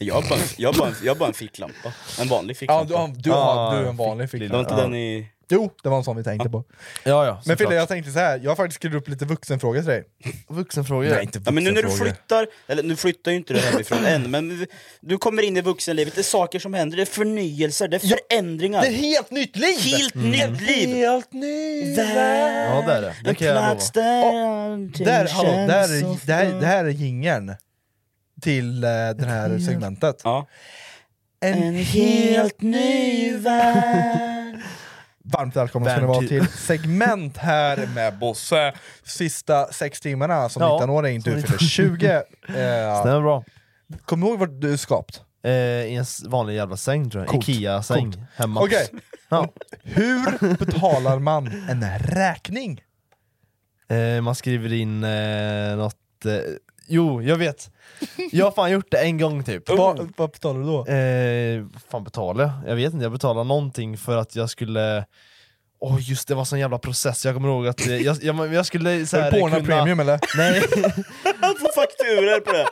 Jag har bara, jag har bara, jag har bara en ficklampa. En vanlig Ja, ficklampa. du, har, du, har, Ah, du är en vanlig Det var ficklampa. inte den i... Jo, det var en sån vi tänkte på. Ja, ja, Men Fille, jag tänkte så här. jag har faktiskt skrivit upp lite vuxenfrågor till dig. Vuxenfrågor. Nej, inte Ja, men nu när du vuxenfrågor. flyttar, eller nu flyttar ju inte du hemifrån än, men du kommer in i vuxenlivet, det är saker som händer, det är förnyelser, det är förändringar. Det är helt nytt liv! Mm. Helt nytt liv! Helt ny Där, Ja det är det, det en kan jag lova. plats där allting Där, hallå, där, känns är- så det, här, bra. det här är jingern till eh, det här segmentet. Ja. En En helt ny värld Varmt välkomna ska ni vara Värmt till segment här med Bosse. Sista sex timmarna som Ja, 19-åring, som du 19. fyller 20. Den Eh, är bra. kom ihåg vart du är skapt. Eh, I en s- vanlig jävla säng tror jag, Coolt. Ikea-säng hemma. Okej, Ja. hur betalar man en räkning? Eh, man skriver in eh, något... Eh, jo, jag vet. Jag har fan gjort det en gång typ. Vad, vad betalar du då? Eh, vad fan betalade jag? Jag vet inte, jag betalade någonting för att jag skulle... Åh just det, var sån jävla process, jag kommer ihåg att eh, jag, jag, jag skulle så här, Är det Porna Premium eller? Nej, Han får fakturor på det!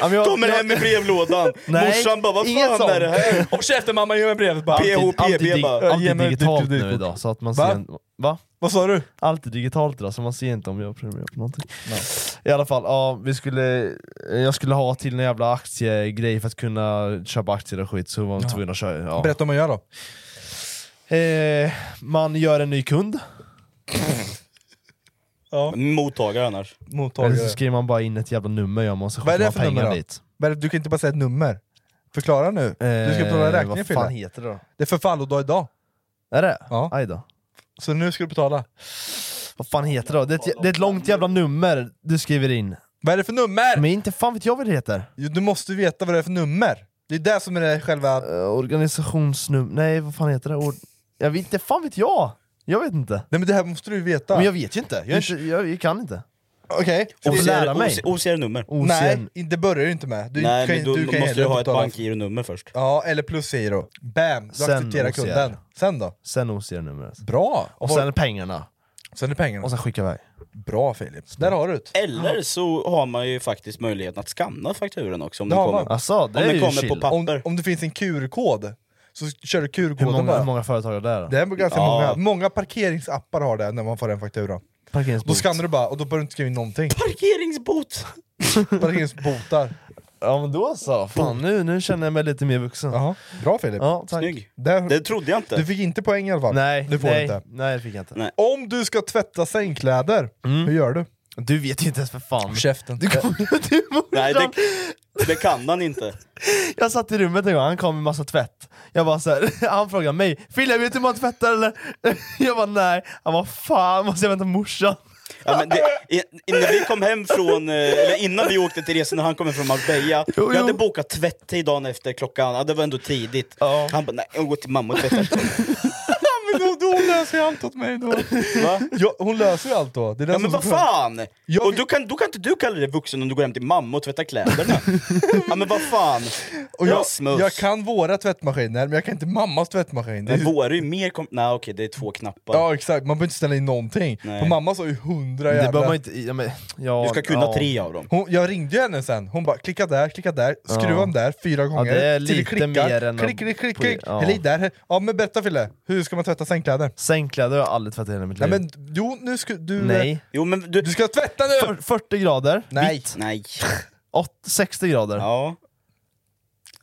Ja, men jag, Kommer jag, hem i brevlådan, Nej, morsan bara vad inget fan sånt. är det här? Håll käften mamma, ge mig brevet bara! P- PHPB allt är dig- bara, allt ge är mig ett digitalt ditt- ditt- nu idag, så att man Va? ser... en- Va? Vad sa du? Allt är digitalt idag, så man ser inte om jag prenumererar på någonting. I alla fall, ja, vi skulle, jag skulle ha till en jävla aktiegrej för att kunna köpa aktier och skit, så var man tvungen att köra. Ja. Berätta om vad jag gör då. Eh, man gör en ny kund, Mottagare annars. eller Mottagare. så skriver man bara in ett jävla nummer, jag måste Vad är det skicka för nummer pengar då? dit. Men Du kan inte bara säga ett nummer. Förklara nu. Du ska Eh, betala räkningen Vad fan Fille. heter det då? Det är förfallodag idag. Är det? Ja. Aj då. Så nu ska du betala. Vad fan heter det då? Det är, ett, det är ett långt jävla nummer du skriver in. Vad är det för nummer? Men inte fan vet jag vad det heter. Jo, Du måste veta vad det är för nummer. Det är det som är det själva... Eh, organisationsnummer... Nej, vad fan heter det? Or- jag vet inte, fan vet jag! Jag vet inte. Nej men det här måste du ju veta. Men jag vet ju inte, jag, är inte, jag, jag kan inte. Okej. Jag får Det- lära mig. OCR-nummer. OCN. Nej, det börjar ju inte med. Du Nej kan, men då du kan måste heller du ha ett betala. bankgironummer först. Ja, eller plusgiro. Bam! Du Sen accepterar OCR. kunden. Sen då? Sen OCR-numret. Bra! Och sen pengarna. sen är pengarna. Och sen skicka iväg. Bra Filip, där har du det. Eller så har man ju faktiskt möjligheten att scanna fakturan också om Det den har kommer, man. Asså, det om är den ju kommer på chill. papper. Om det finns en QR-kod så kör du QR-koden Hur många, bara. hur många företag är det där? då? Det är ganska många. Många parkeringsappar har det när man får en faktura. Då skannar du bara och då behöver du inte skriva in någonting. Parkeringsbot! Parkeringsbotar. Ja men då så, fan nu, nu känner jag mig lite mer vuxen. Bra Filip. Ja, tack. Snygg. Där- Det trodde jag inte. Du fick inte poäng i alla fall. Nej, du får nej, inte. nej det fick jag inte. Om du ska tvätta sängkläder, Mm. hur gör du? Du vet ju inte ens för fan. Käften. Du kom, du Nej, morsan, det, det kan han inte. Jag satt i rummet en gång, han kom med massa tvätt. Jag bara så här, han frågade mig Fille, vet du hur man tvättar eller? Jag bara nej. Han bara fan, måste jag vänta morsan? Ja, men det, i- innan vi kom hem från, eh, eller innan vi åkte till resan när han kom hem från Marbella, vi hade bokat tvätt till dagen efter klockan, ja, det var ändå tidigt. Han bara nej, jag går till mamma och tvättar. men då, då löser jag allt åt mig då. Va? Ja, hon löser ju allt då. Det är det Ja som men är vad så skönt. fan! och då kan, då kan inte du kalla dig vuxen om du går hem till mamma och tvättar kläderna. ja men vad fan! Och jag, Rasmus! jag kan våra tvättmaskiner, men jag kan inte mammas tvättmaskin. Det är- Men våra är ju mer kom... Nej okej, det är två knappar. Ja exakt, man behöver inte ställa in någonting. Nej. På mammas har ju hundra Det jävla... behöver man inte, ja, men, ja, Du ska kunna ja. tre av dem. Hon, jag ringde ju henne sen, hon bara klicka där, klicka där, skruva den där fyra gånger. det är till det lite klickar. mer än att- Klick, klick, klick, klick. Ja. Häll i där. häll- Ja men berätta Fille, hur ska man tvätta sängkläder? Sängkläder har jag aldrig tvättat i hela mitt Nej liv. men jo, nu ska du... Nej. Jo men du... Du ska tvätta nu! Fyr- 40 grader, Nej! Nej. Åt- 60 grader. Ja.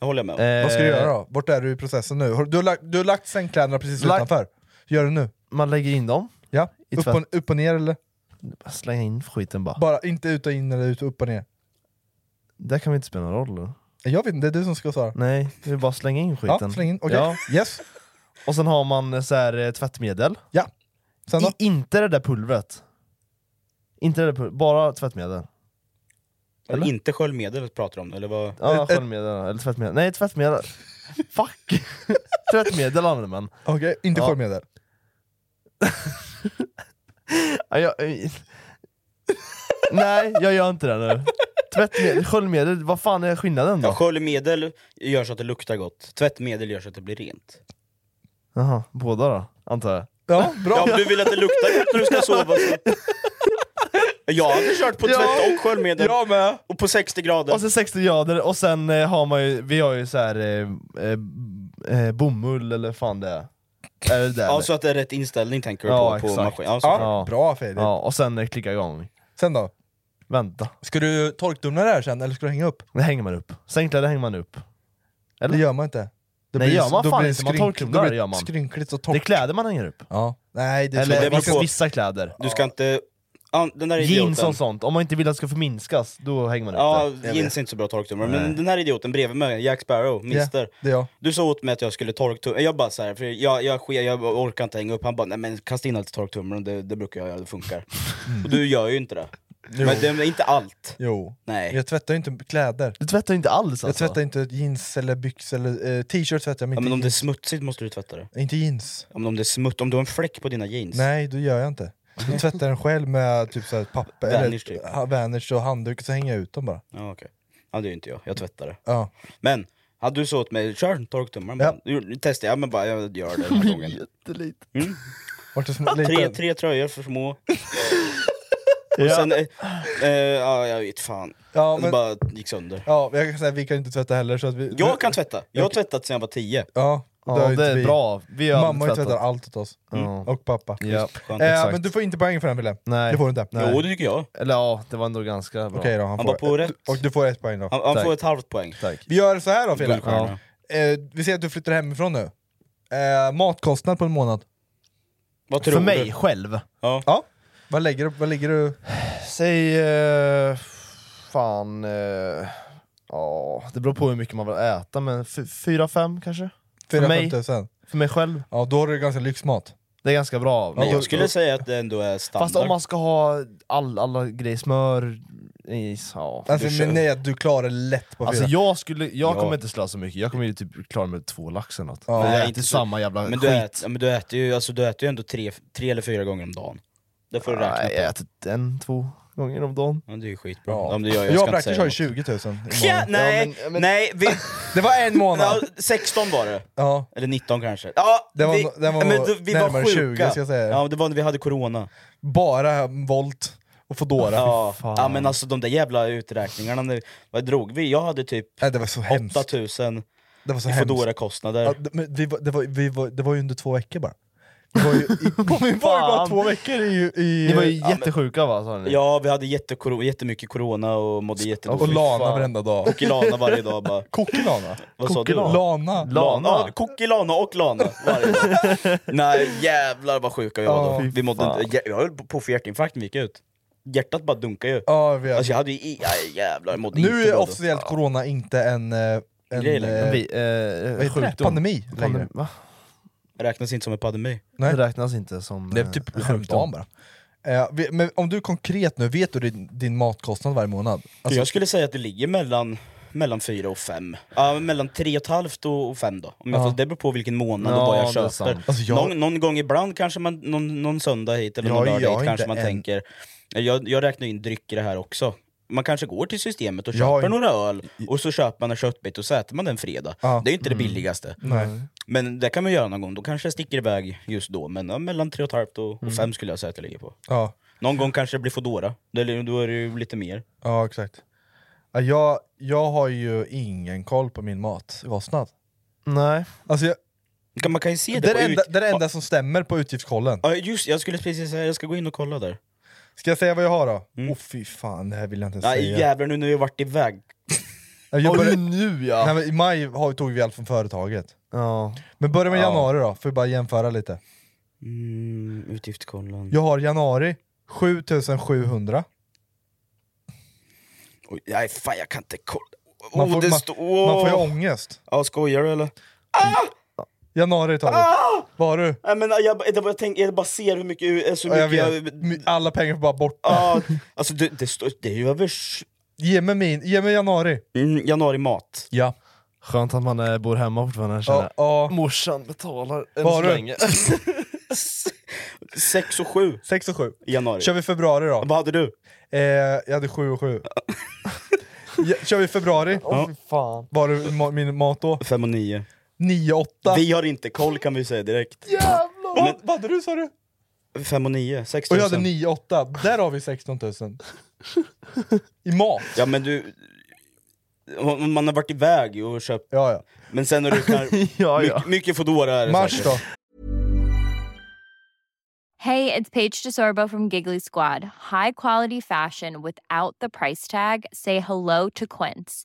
Jag håller med om. Eh, Vad ska du göra då? Vart är du i processen nu? Har- Du har lagt, du har lagt sängkläderna precis Lagt- utanför. Gör det nu. Man lägger in dem, Ja. I Upp tvätt. och, upp och ner eller? slänga in skiten bara. Bara inte ut och in eller ut och upp och ner. Eh, Det kan väl inte spela någon roll? Eller? Jag vet inte, det är du som ska svara. Nej, det är bara att slänga in skiten. Ja, släng in. Okej. Ja. Yes. Och sen har man eh, så här, eh, tvättmedel. Ja. Sen då? I, inte det där pulvret. Inte det där pulvret, bara tvättmedel. Eller? Inte sköljmedel pratar du om eller vad? Ja, Ett- ett- sköljmedel eller tvättmedel. Nej, tvättmedel. Fuck! tvättmedel använder man. Okej, inte Ja. sköljmedel. Ja, jag, eh, nej, jag gör inte det nu. Tvättmedel, sköljmedel, vad fan är skillnaden Ja, då? sköljmedel gör så att det luktar gott. Tvättmedel gör så att det blir rent. Jaha, båda då, antar jag. Ja, Ja, bra. om du vill att det luktar gott när du ska sova så... Jag hade kört på tvätt Ja. och sköljmedel. Jag med! Och på 60 grader. Och sen 60 grader, och sen eh, har man ju, vi har ju så här eh, eh, eh, bomull eller fan det är. Är det där? Ja, Alltså- så att det är rätt inställning tänker du Ja, på, på exakt. maskin. Ja, så- Ja, Ja. Bra Filip. ja, och sen eh, klicka igång. Sen då? Vänta, Ska du torktumla det här sen eller ska du hänga upp? det hänger man upp. Sängkläder hänger man upp. Eller? Det gör man inte. Det Nej, gör man då fan blir det inte. Man skrynk- torktumlar, då blir det gör man. Skrynkligt och Det är torrt. kläder man hänger upp. Ja. Nej, det Eller tror jag. Man beror vissa, ska... på- vissa kläder. Du ska inte... Ja, den där idioten. Jeans och sånt, om man inte vill att det ska förminskas, då hänger man upp Ja, det. jeans är inte så bra torktumlare. Men den här idioten bredvid mig, Jack Sparrow, mister. Det är jag. Du sa åt mig att jag skulle torktumla, jag bara så här, för jag, jag, sker- jag orkar inte hänga upp, han bara nej men kasta in allt i torktumlaren, det, det brukar jag göra, det funkar. Och du gör ju inte det. Men det är inte allt. Jo. Nej. Jag tvättar ju inte kläder. Du tvättar ju inte alls Jag alltså? tvättar inte jeans eller byxor eller eh, t-shirt tvättar jag men Ja, inte, men om det är jeans. smutsigt måste du tvätta det. inte jeans. Ja, men om det är smutt, om du har en fläck på dina jeans. Nej, då gör jag inte. Jag tvättar den själv med typ så här papper, eller Vanish typ. ha- Vanish och handduk, och så hänger jag ut dem bara. Ja, okej. ja det är ju inte jag, jag tvättar det. Ja. Men, hade du så åt mig, kör torktumlaren Ja. bara. Du- Testa, ja men bara jag gör det den här gången. Jättelite. Vart det som, Tre, lite, tre tröjor för små. Och sen, eh, eh, ja jag vet fan. Ja, Det men- bara gick sönder. ja, jag kan säga, vi kan inte tvätta heller. Så att vi, Jag kan tvätta, jag har tvättat sedan jag var 10. Ja, har Ja, ju det inte är vi. bra. Vi har Mamma har ju aldrig tvättat allt åt oss. Ja. Och pappa. Ja. Skönt. Eh, exakt. men du får inte poäng för den Wille. Nej. Det får du inte. Nej. Jo det tycker jag. Eller ja, det var ändå ganska bra. Okej då, han, Han får, var på eh, rätt. Och du får ett poäng då. Han, han Tack. får ett halvt poäng. Tack. Vi gör så här då Fille. Guldstjärna. Eh, vi säger att du flyttar hemifrån nu. Eh, matkostnad på en månad. Vad tror För mig du? själv. Ja. Ja. Vad lägger du? Vad lägger du? Säg... eh, fan... eh, Ja, det beror på hur mycket man vill äta, men fy- fyra fem kanske? För mig? 4-5 tusen? För mig själv. Ja, då har du ganska lyxmat. Det är ganska bra. Men jag skulle säga att det ändå är standard. Fast om man ska ha all, alla grejer, smör, is, ja. Alltså, Du kör. men nej, du klarar lätt på fyra. Alltså jag, skulle, jag Ja. kommer inte slösa mycket, jag kommer ju typ klara mig två lax eller något. Ja. För Nej, jag inte äter så- samma jävla men skit. du, äter, ja, men du, äter ju, alltså, du äter ju ändå tre, tre eller fyra gånger om dagen. Det får du Nej, räkna jag på. äter en, två gånger om dagen. Ja, det är ju skitbra. Ja. men det gör jag, Jag jag och ska inte Brackers säga har ju något. 20 000 imorgon. Ja, nej, Ja, men- men- nej vi... Det var en månad. Ja, 16 var det. Ja. Eller 19 kanske. Ja, Det var- vi, det var men vi var närmare sjuka. 20, ska jag säga. Ja, det var när vi hade corona. Bara Volt och Foodora. Ja. ja men alltså de där jävla uträkningarna, nu, vad drog vi? Jag hade typ Nej, det var så hemskt. 8000 Det var så i hemskt. Foodora-kostnader. Ja, det- men vi var, det, var, vi var, det var ju under två veckor bara. Det var ju, i, vi var ju bara Fan. två veckor i... i Ni var ju ja, men- jättesjuka va? Sa ni? Ja, vi hade jättekoro- jättemycket corona och mådde jättedåligt. Och lana Fan. varenda dag. Och lana varje dag bara. Kokilana? Vad sa du? Lana. Lana. Ja, Kokilana och lana varje dag. Nej jävlar vad sjuka vi var Ja, då. fy Vi mådde, fan. jag, jag höll på att få hjärtinfarkt när vi gick ut. Hjärtat bara dunkade ju. Ja, vi- Alltså jag hade ju, i- aj, jävlar jag mådde Nu inte är bra då. officiellt corona inte en... eh, en Grej längre. eh, Vi, eh, vad heter det? sjukdom. Pandemi Pandem- längre. va? Räknas inte som en pandemi. Nej. Det räknas inte som Det är eh, typ häromdagen bara. Eh, vi- men om du konkret nu, vet du din, din matkostnad varje månad? Alltså, jag skulle säga att det ligger mellan, mellan 4 och 5. Ja, mellan 3,5 och 5 då. Om jag Ja. får, det beror på vilken månad Ja, och vad jag det är köper. sant. Alltså, jag- någon, någon gång ibland kanske man, någon, någon söndag hit eller Ja, någon jag lördag är hit kanske inte man en- tänker, jag, jag räknar in dryck i det här också. Man kanske går till systemet och Jag är köper några öl, och så köper man en köttbit och så äter man den fredag. Ja. Mm. Det är ju inte det billigaste. nej. Men det kan man göra någon gång, då kanske jag sticker iväg just då. Men ja, mellan 3,5 och Mm. 5 skulle jag säga att det ligger på. Ja, Någon gång kanske det blir Foodora, Eller då är det ju lite mer. ja exakt. Ja, jag, jag har ju ingen koll på min matkostnad. Nej. Alltså, jag, Kan- Man kan ju se det, det, är på det enda, ut- det är det enda som stämmer på utgiftskollen. Ja just jag skulle precis säga jag ska gå in och kolla där. Ska jag säga vad jag har då? Åh fy fan, det här vill jag inte Mm. Nej säga. jävlar nu när vi varit iväg. Ja, Jag Oj, började, nu nej, ja! men I maj har, tog vi allt från företaget. ja. Men börja med Ja. januari då, för att bara jämföra lite. Mm, utgiftskollen. Jag har januari 7700. Oj, nej fan jag kan inte kolla. Oh, Man får, det man, står... man får ju ångest. Ja skojar du eller? Januari tar vi. Ah! Vad har du? Nej men jag, jag, bara tänk, jag bara ser hur mycket... Så Ja, mycket jag vet. My- Alla pengar får bara bort. Ja, alltså det, det, står, det är ju över... sj- Ge mig min, ge mig januari. Mm, januari mat. Ja. Skönt att man eh, bor hemma fortfarande jag känner Ja, jag. ja. Morsan betalar Vad än har så du? länge. 6 och 7 6 och 7. i januari. Kör vi februari då? Vad hade du? Eh, jag hade 7 och 7. Ja, Kör vi februari? Åh fy fan. Var du ma- min mat då? 5 och 9. 9 och 8. Vi har inte koll kan vi säga direkt. Jävlar! Vad- Vad hade du sa du? 5 och 9, 6 Och 000. jag hade 9 och 8. Där har vi 16 000. I mat. Ja men du... Om man har varit iväg och köpt Ja, ja. Men sen när du kan... Ja, ja. mycket, mycket Foodora är det Mars säkert. då? Hey, it's Paige DeSorbo from Giggly Squad. High quality fashion without the price tag. Say hello to Quince.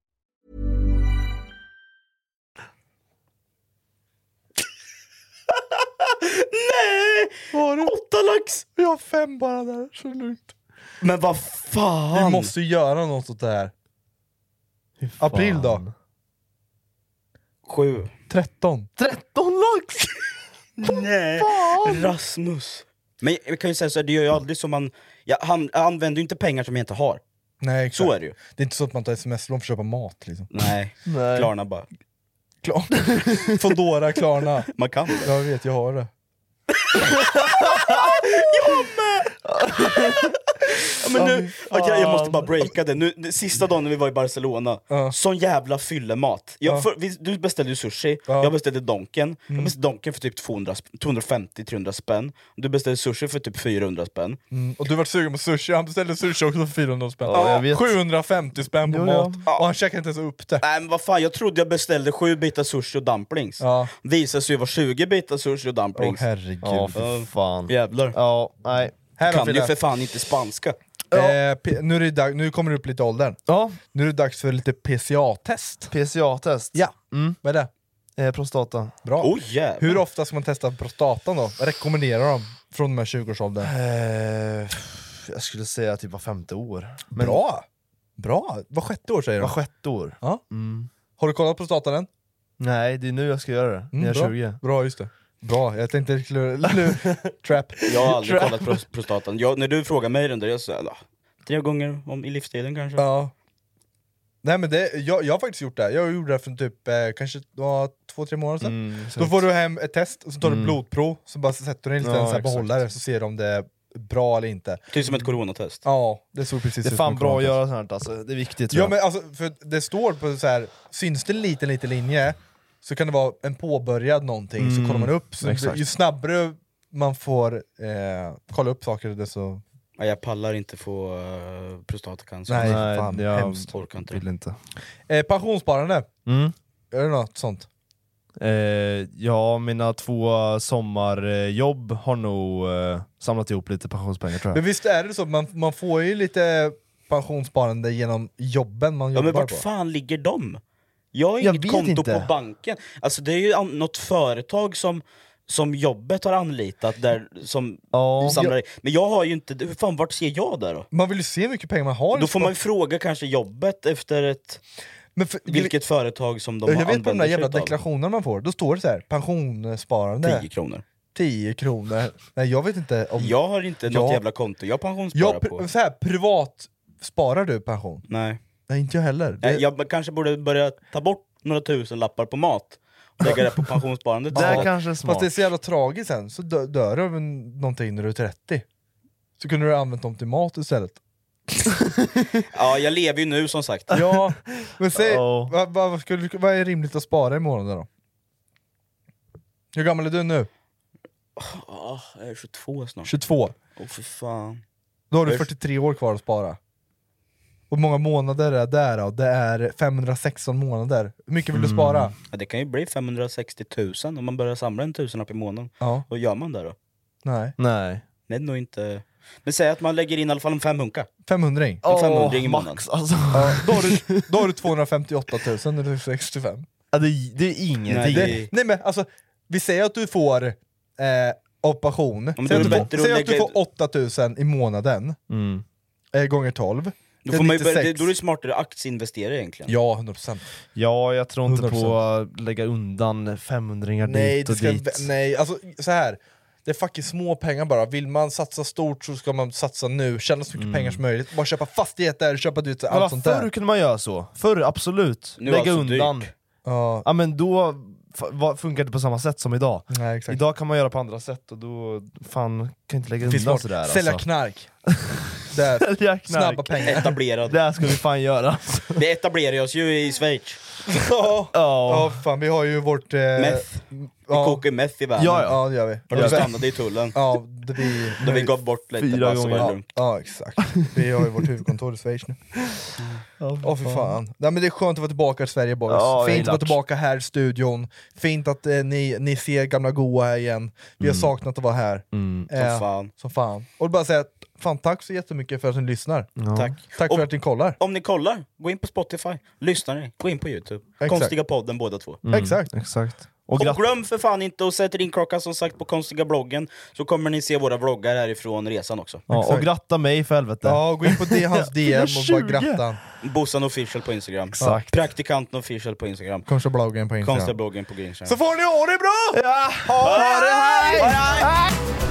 Nej! Vad har du? Åtta lax! Jag har 5 bara där, så lugnt. Men vad Vi fan! måste ju göra något åt det här. April då? Sju. 13. 13 lax! Nej! Rasmus. Men jag kan ju säga så här, det gör ju aldrig som man... Jag, han, jag använder ju inte pengar som jag inte har. Nej, exakt. Så är det ju. Det är inte så att man tar sms-lån för att köpa mat liksom. Nej. Nej. Klarna bara. Klarna. Foodora, Klarna. Man kan det. Jag vet, jag har det. Ja, men nu, okej, jag måste bara breaka det. Nu, nu, sista dagen när vi var i Barcelona, Ja. sån jävla fyllemat. Jag, Ja. för, vi, du beställde ju sushi, Ja. Mm. jag beställde donken. Jag beställde donken för typ 200 sp- 250-300 spänn. Du beställde sushi för typ 400 spänn. Mm. Och du vart sugen på sushi, han beställde sushi också för 400 spänn. Ja, jag vet. 750 spänn på Jo, ja. mat, och han käkade inte ens upp det. Nej men vad fan, jag trodde jag beställde sju bitar sushi och dumplings. Ja. Visade sig vara 20 bitar sushi och Åh dumplings. herregud. Ja fy fan. Jävlar. Ja, nej. Här har Kan vi ju det. för fan inte spanska. Eh, P- nu, är det dag- nu kommer det upp lite åldern. Ja, Nu är det dags för lite PCA-test. PCA-test. Ja, Mm. vad är det? Eh, prostata. Bra. Oj jävlar. Hur ofta ska man testa prostatan då? Rekommenderar de från de här 20-årsåldern? Eh, jag skulle säga typ var femte år. Bra! Bra! Var sjätte år säger du? Var sjätte år. Ja. Har du kollat prostatan än? Nej, det är nu jag ska göra det. när jag är bra. 20. Bra, just det. Bra, jag tänkte lur- lur- trap. Jag har aldrig Trap. kollat pros- prostatan. Jag, när du frågar mig den där, jag säger ja, tre gånger om, i livstiden kanske. Ja. Nej men det, jag, jag har faktiskt gjort det, här. jag gjorde det för typ eh, kanske ja, två, tre månader sedan. Mm, Då får du hem ett test, och så tar du Mm. blodprov, så bara sätter du in en Ja, liten så här exakt. behållare så ser du om det är bra eller inte. Typ som ett coronatest. Ja, det såg precis Det är ut fan som bra att coronatest. göra sånt här alltså. Det är viktigt tror Ja jag. men alltså, för det står på så här syns det en liten, liten linje så kan det vara en påbörjad någonting, så Mm, kollar man upp. Så exakt. ju snabbare man får eh, kolla upp saker desto... Ja, jag pallar inte få uh, prostatacancer. Nej, Nej, fan, jag hemskt. Orkar inte. Vill inte. Eh, pensionssparande, Mm. är det något sånt? Eh, ja, mina två sommarjobb har nog eh, samlat ihop lite pensionspengar tror Men jag. visst är det så, man, man får ju lite pensionssparande genom jobben man Ja, jobbar men vart på. fan ligger de? Jag har Jag inget vet konto inte. på banken. Alltså det är ju an- något företag som, som jobbet har anlitat där som samlar in. Men jag har ju inte, hur fan vart ser jag där då? Man vill ju se hur mycket pengar man har. Då får man ju fråga kanske jobbet efter ett, vilket företag som de jag vet på de använder där sig jävla utav. deklarationerna man får, då står det så här, pensionssparande. 10 kronor. 10 kronor. Nej jag vet inte om... Jag har inte något Ja. jävla konto jag pensionssparar Jag, på. pri- så här, privat sparar du pension? Nej. Nej inte jag heller. Nej, Jag kanske borde börja ta bort några tusen lappar på mat och lägga det på pensionssparandet. Ja, istället. Fast det är så jävla tragiskt sen, så dö, dör du av en- någonting när du är 30. Så kunde du ha använt dem till mat istället. Ja, jag lever ju nu som sagt. Ja, men säg, Ja. vad, vad, vad, skulle, vad är rimligt att spara i månaden då? Hur gammal är du nu? Ah, jag är 22 snart. 22. Åh för fan. Då har du Jag är- 43 år kvar att spara. Och hur många månader är det där då? Det är 516 månader. Hur mycket Mm. vill du spara? Ja, det kan ju bli 560 000 om man börjar samla en tusenlapp i månaden. Ja. Vad gör man där då? Nej. Nej. Nej, nog inte... Men säg att man lägger in i alla fall en femhunka. 500 ring. En 500 i månaden. Ja, då, har du, då har du 258 000 när du är 65. Ja, det, det är ingenting. Det, nej men alltså, vi säger att du får eh, operation, men då säg är att, det du bättre får, att säg att du lägga- får 8000 i månaden, Mm. eh, gånger 12. Då, Det är får man ju börja, 96. det- då är det smartare att aktieinvestera egentligen. Ja, 100%. Ja, jag tror inte på 100%. att lägga undan 500 Nej, dit det och ska, dit. nej, alltså så här. Det är fucking små pengar bara, vill man satsa stort så ska man satsa nu, tjäna så mycket Mm. pengar som möjligt, bara köpa fastigheter, köpa du vet, Men allt vad, sånt förr där. kunde man göra så. Förr, absolut. Nu är Lägga allt så undan. dyrt. Ja. men då fa- vad- funkar det på samma sätt som idag. Nej, exakt. Idag kan man göra på andra sätt och då fan, kan inte lägga Finns undan smart. sådär. Sälja alltså. knark. Där. Sälja knark. Snabba pengar. Etablerad. Det här ska vi fan göra. Vi etablerar oss ju i Schweiz. Ja, ja fan vi har ju vårt... Eh, Meth. Vi kokar ju meth i världen. Ja, ja. ja det gör vi. Och de stannade i tullen. Ja, det vi, Då vi gav bort lite bara så var det Ja, lugnt. ja exakt, vi har ju vårt huvudkontor i Schweiz nu. Åh Åh fy fan. Nej, men det är skönt att vara tillbaka i Sverige boys, Ja, jag fint att gillar vara det. tillbaka här i studion, fint att eh, ni, ni ser gamla goa här igen, vi har saknat att vara här. Mm. Eh, Som fan. Som fan. Och bara säga att, fan tack så jättemycket för att ni lyssnar. Tack. Tack för Och- att ni kollar. Om ni kollar, gå in på Spotify, lyssnar ni, gå in på Youtube. Exakt. Konstiga podden båda två. Mm. Exakt. Exakt. Och, Och, gratt- glöm för fan inte att sätta in klockan som sagt på konstiga bloggen, så kommer ni se våra vloggar härifrån resan också. ja, och gratta mig för helvete. Ja, gå in på det, hans DM och bara 20. gratta han. Bossan official på Instagram. Exakt. Praktikanten official på Instagram. Konstiga bloggen på Instagram. Konstiga bloggen på Instagram. Så får ni ha det bra! Ha det här!